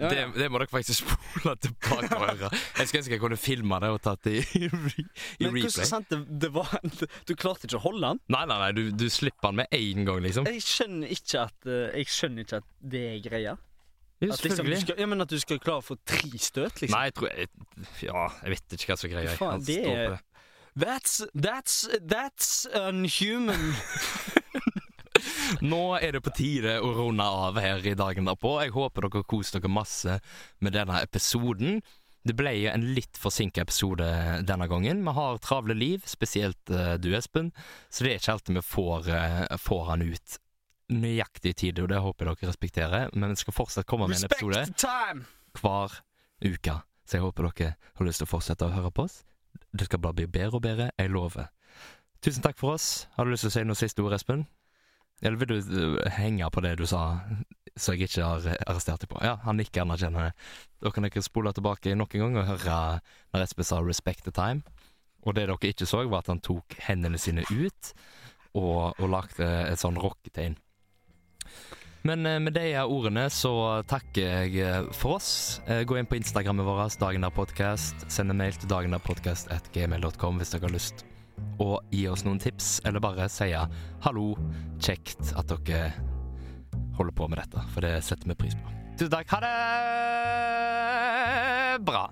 Speaker 1: Ja,
Speaker 2: det.
Speaker 1: ja.
Speaker 2: Det må dere faktisk spole tilbake og høre. Jeg skulle ønske jeg kunne filma det og tatt det i, re i
Speaker 1: Men hvordan
Speaker 2: replay.
Speaker 1: sant det, det var Du klarte ikke å holde den?
Speaker 2: Nei, nei, nei, du, du slipper han med én gang, liksom.
Speaker 1: Jeg skjønner ikke at, eh, jeg skjønner ikke at det er greia.
Speaker 2: Jo,
Speaker 1: At, liksom, du
Speaker 2: selvfølgelig.
Speaker 1: skal, ja, men at du skal klare å få tre støt, liksom.
Speaker 2: Nei, jeg tror jeg, Ja, jeg vet ikke hva som er greia.
Speaker 1: Faen,
Speaker 2: Han
Speaker 1: det
Speaker 2: står
Speaker 1: er-
Speaker 2: på det.
Speaker 1: That's, that's, that's unhuman.
Speaker 2: Nå er det på tide å runde av her i dagen derpå. Jeg håper dere koser dere masse med denne episoden. Det ble jo en litt forsinka episode denne gangen. Vi har travle liv, spesielt eh, du, Espen, så det er ikke alltid vi får, eh, får han ut nøyaktig i tide, og det håper jeg dere respekterer. Men vi skal fortsatt komme med en
Speaker 1: Respect
Speaker 2: episode
Speaker 1: the time.
Speaker 2: hver uke. Så jeg håper dere har lyst til å fortsette å høre på oss. Det skal bare bli bedre og bedre, jeg lover. Tusen takk for oss. Har du lyst til å si noe siste ord, Espen? Eller vil du øh, henge på det du sa, så jeg ikke har arrestert deg på? Ja, han nikker anerkjennende. Da kan dere spole tilbake nok en gang og høre når Espen sa 'respect the time'. Og det dere ikke så, var at han tok hendene sine ut og, og lagde et sånn rocketegn. Men eh, med de ordene så takker jeg eh, for oss. Eh, Gå inn på Instagrammet vårt, Dagen der podcast. Send en mail til dagenderpodkast.gmail.com hvis dere har lyst. Og gi oss noen tips, eller bare si hallo, kjekt at dere holder på med dette. For det setter vi pris på. Tusen takk. Ha det bra.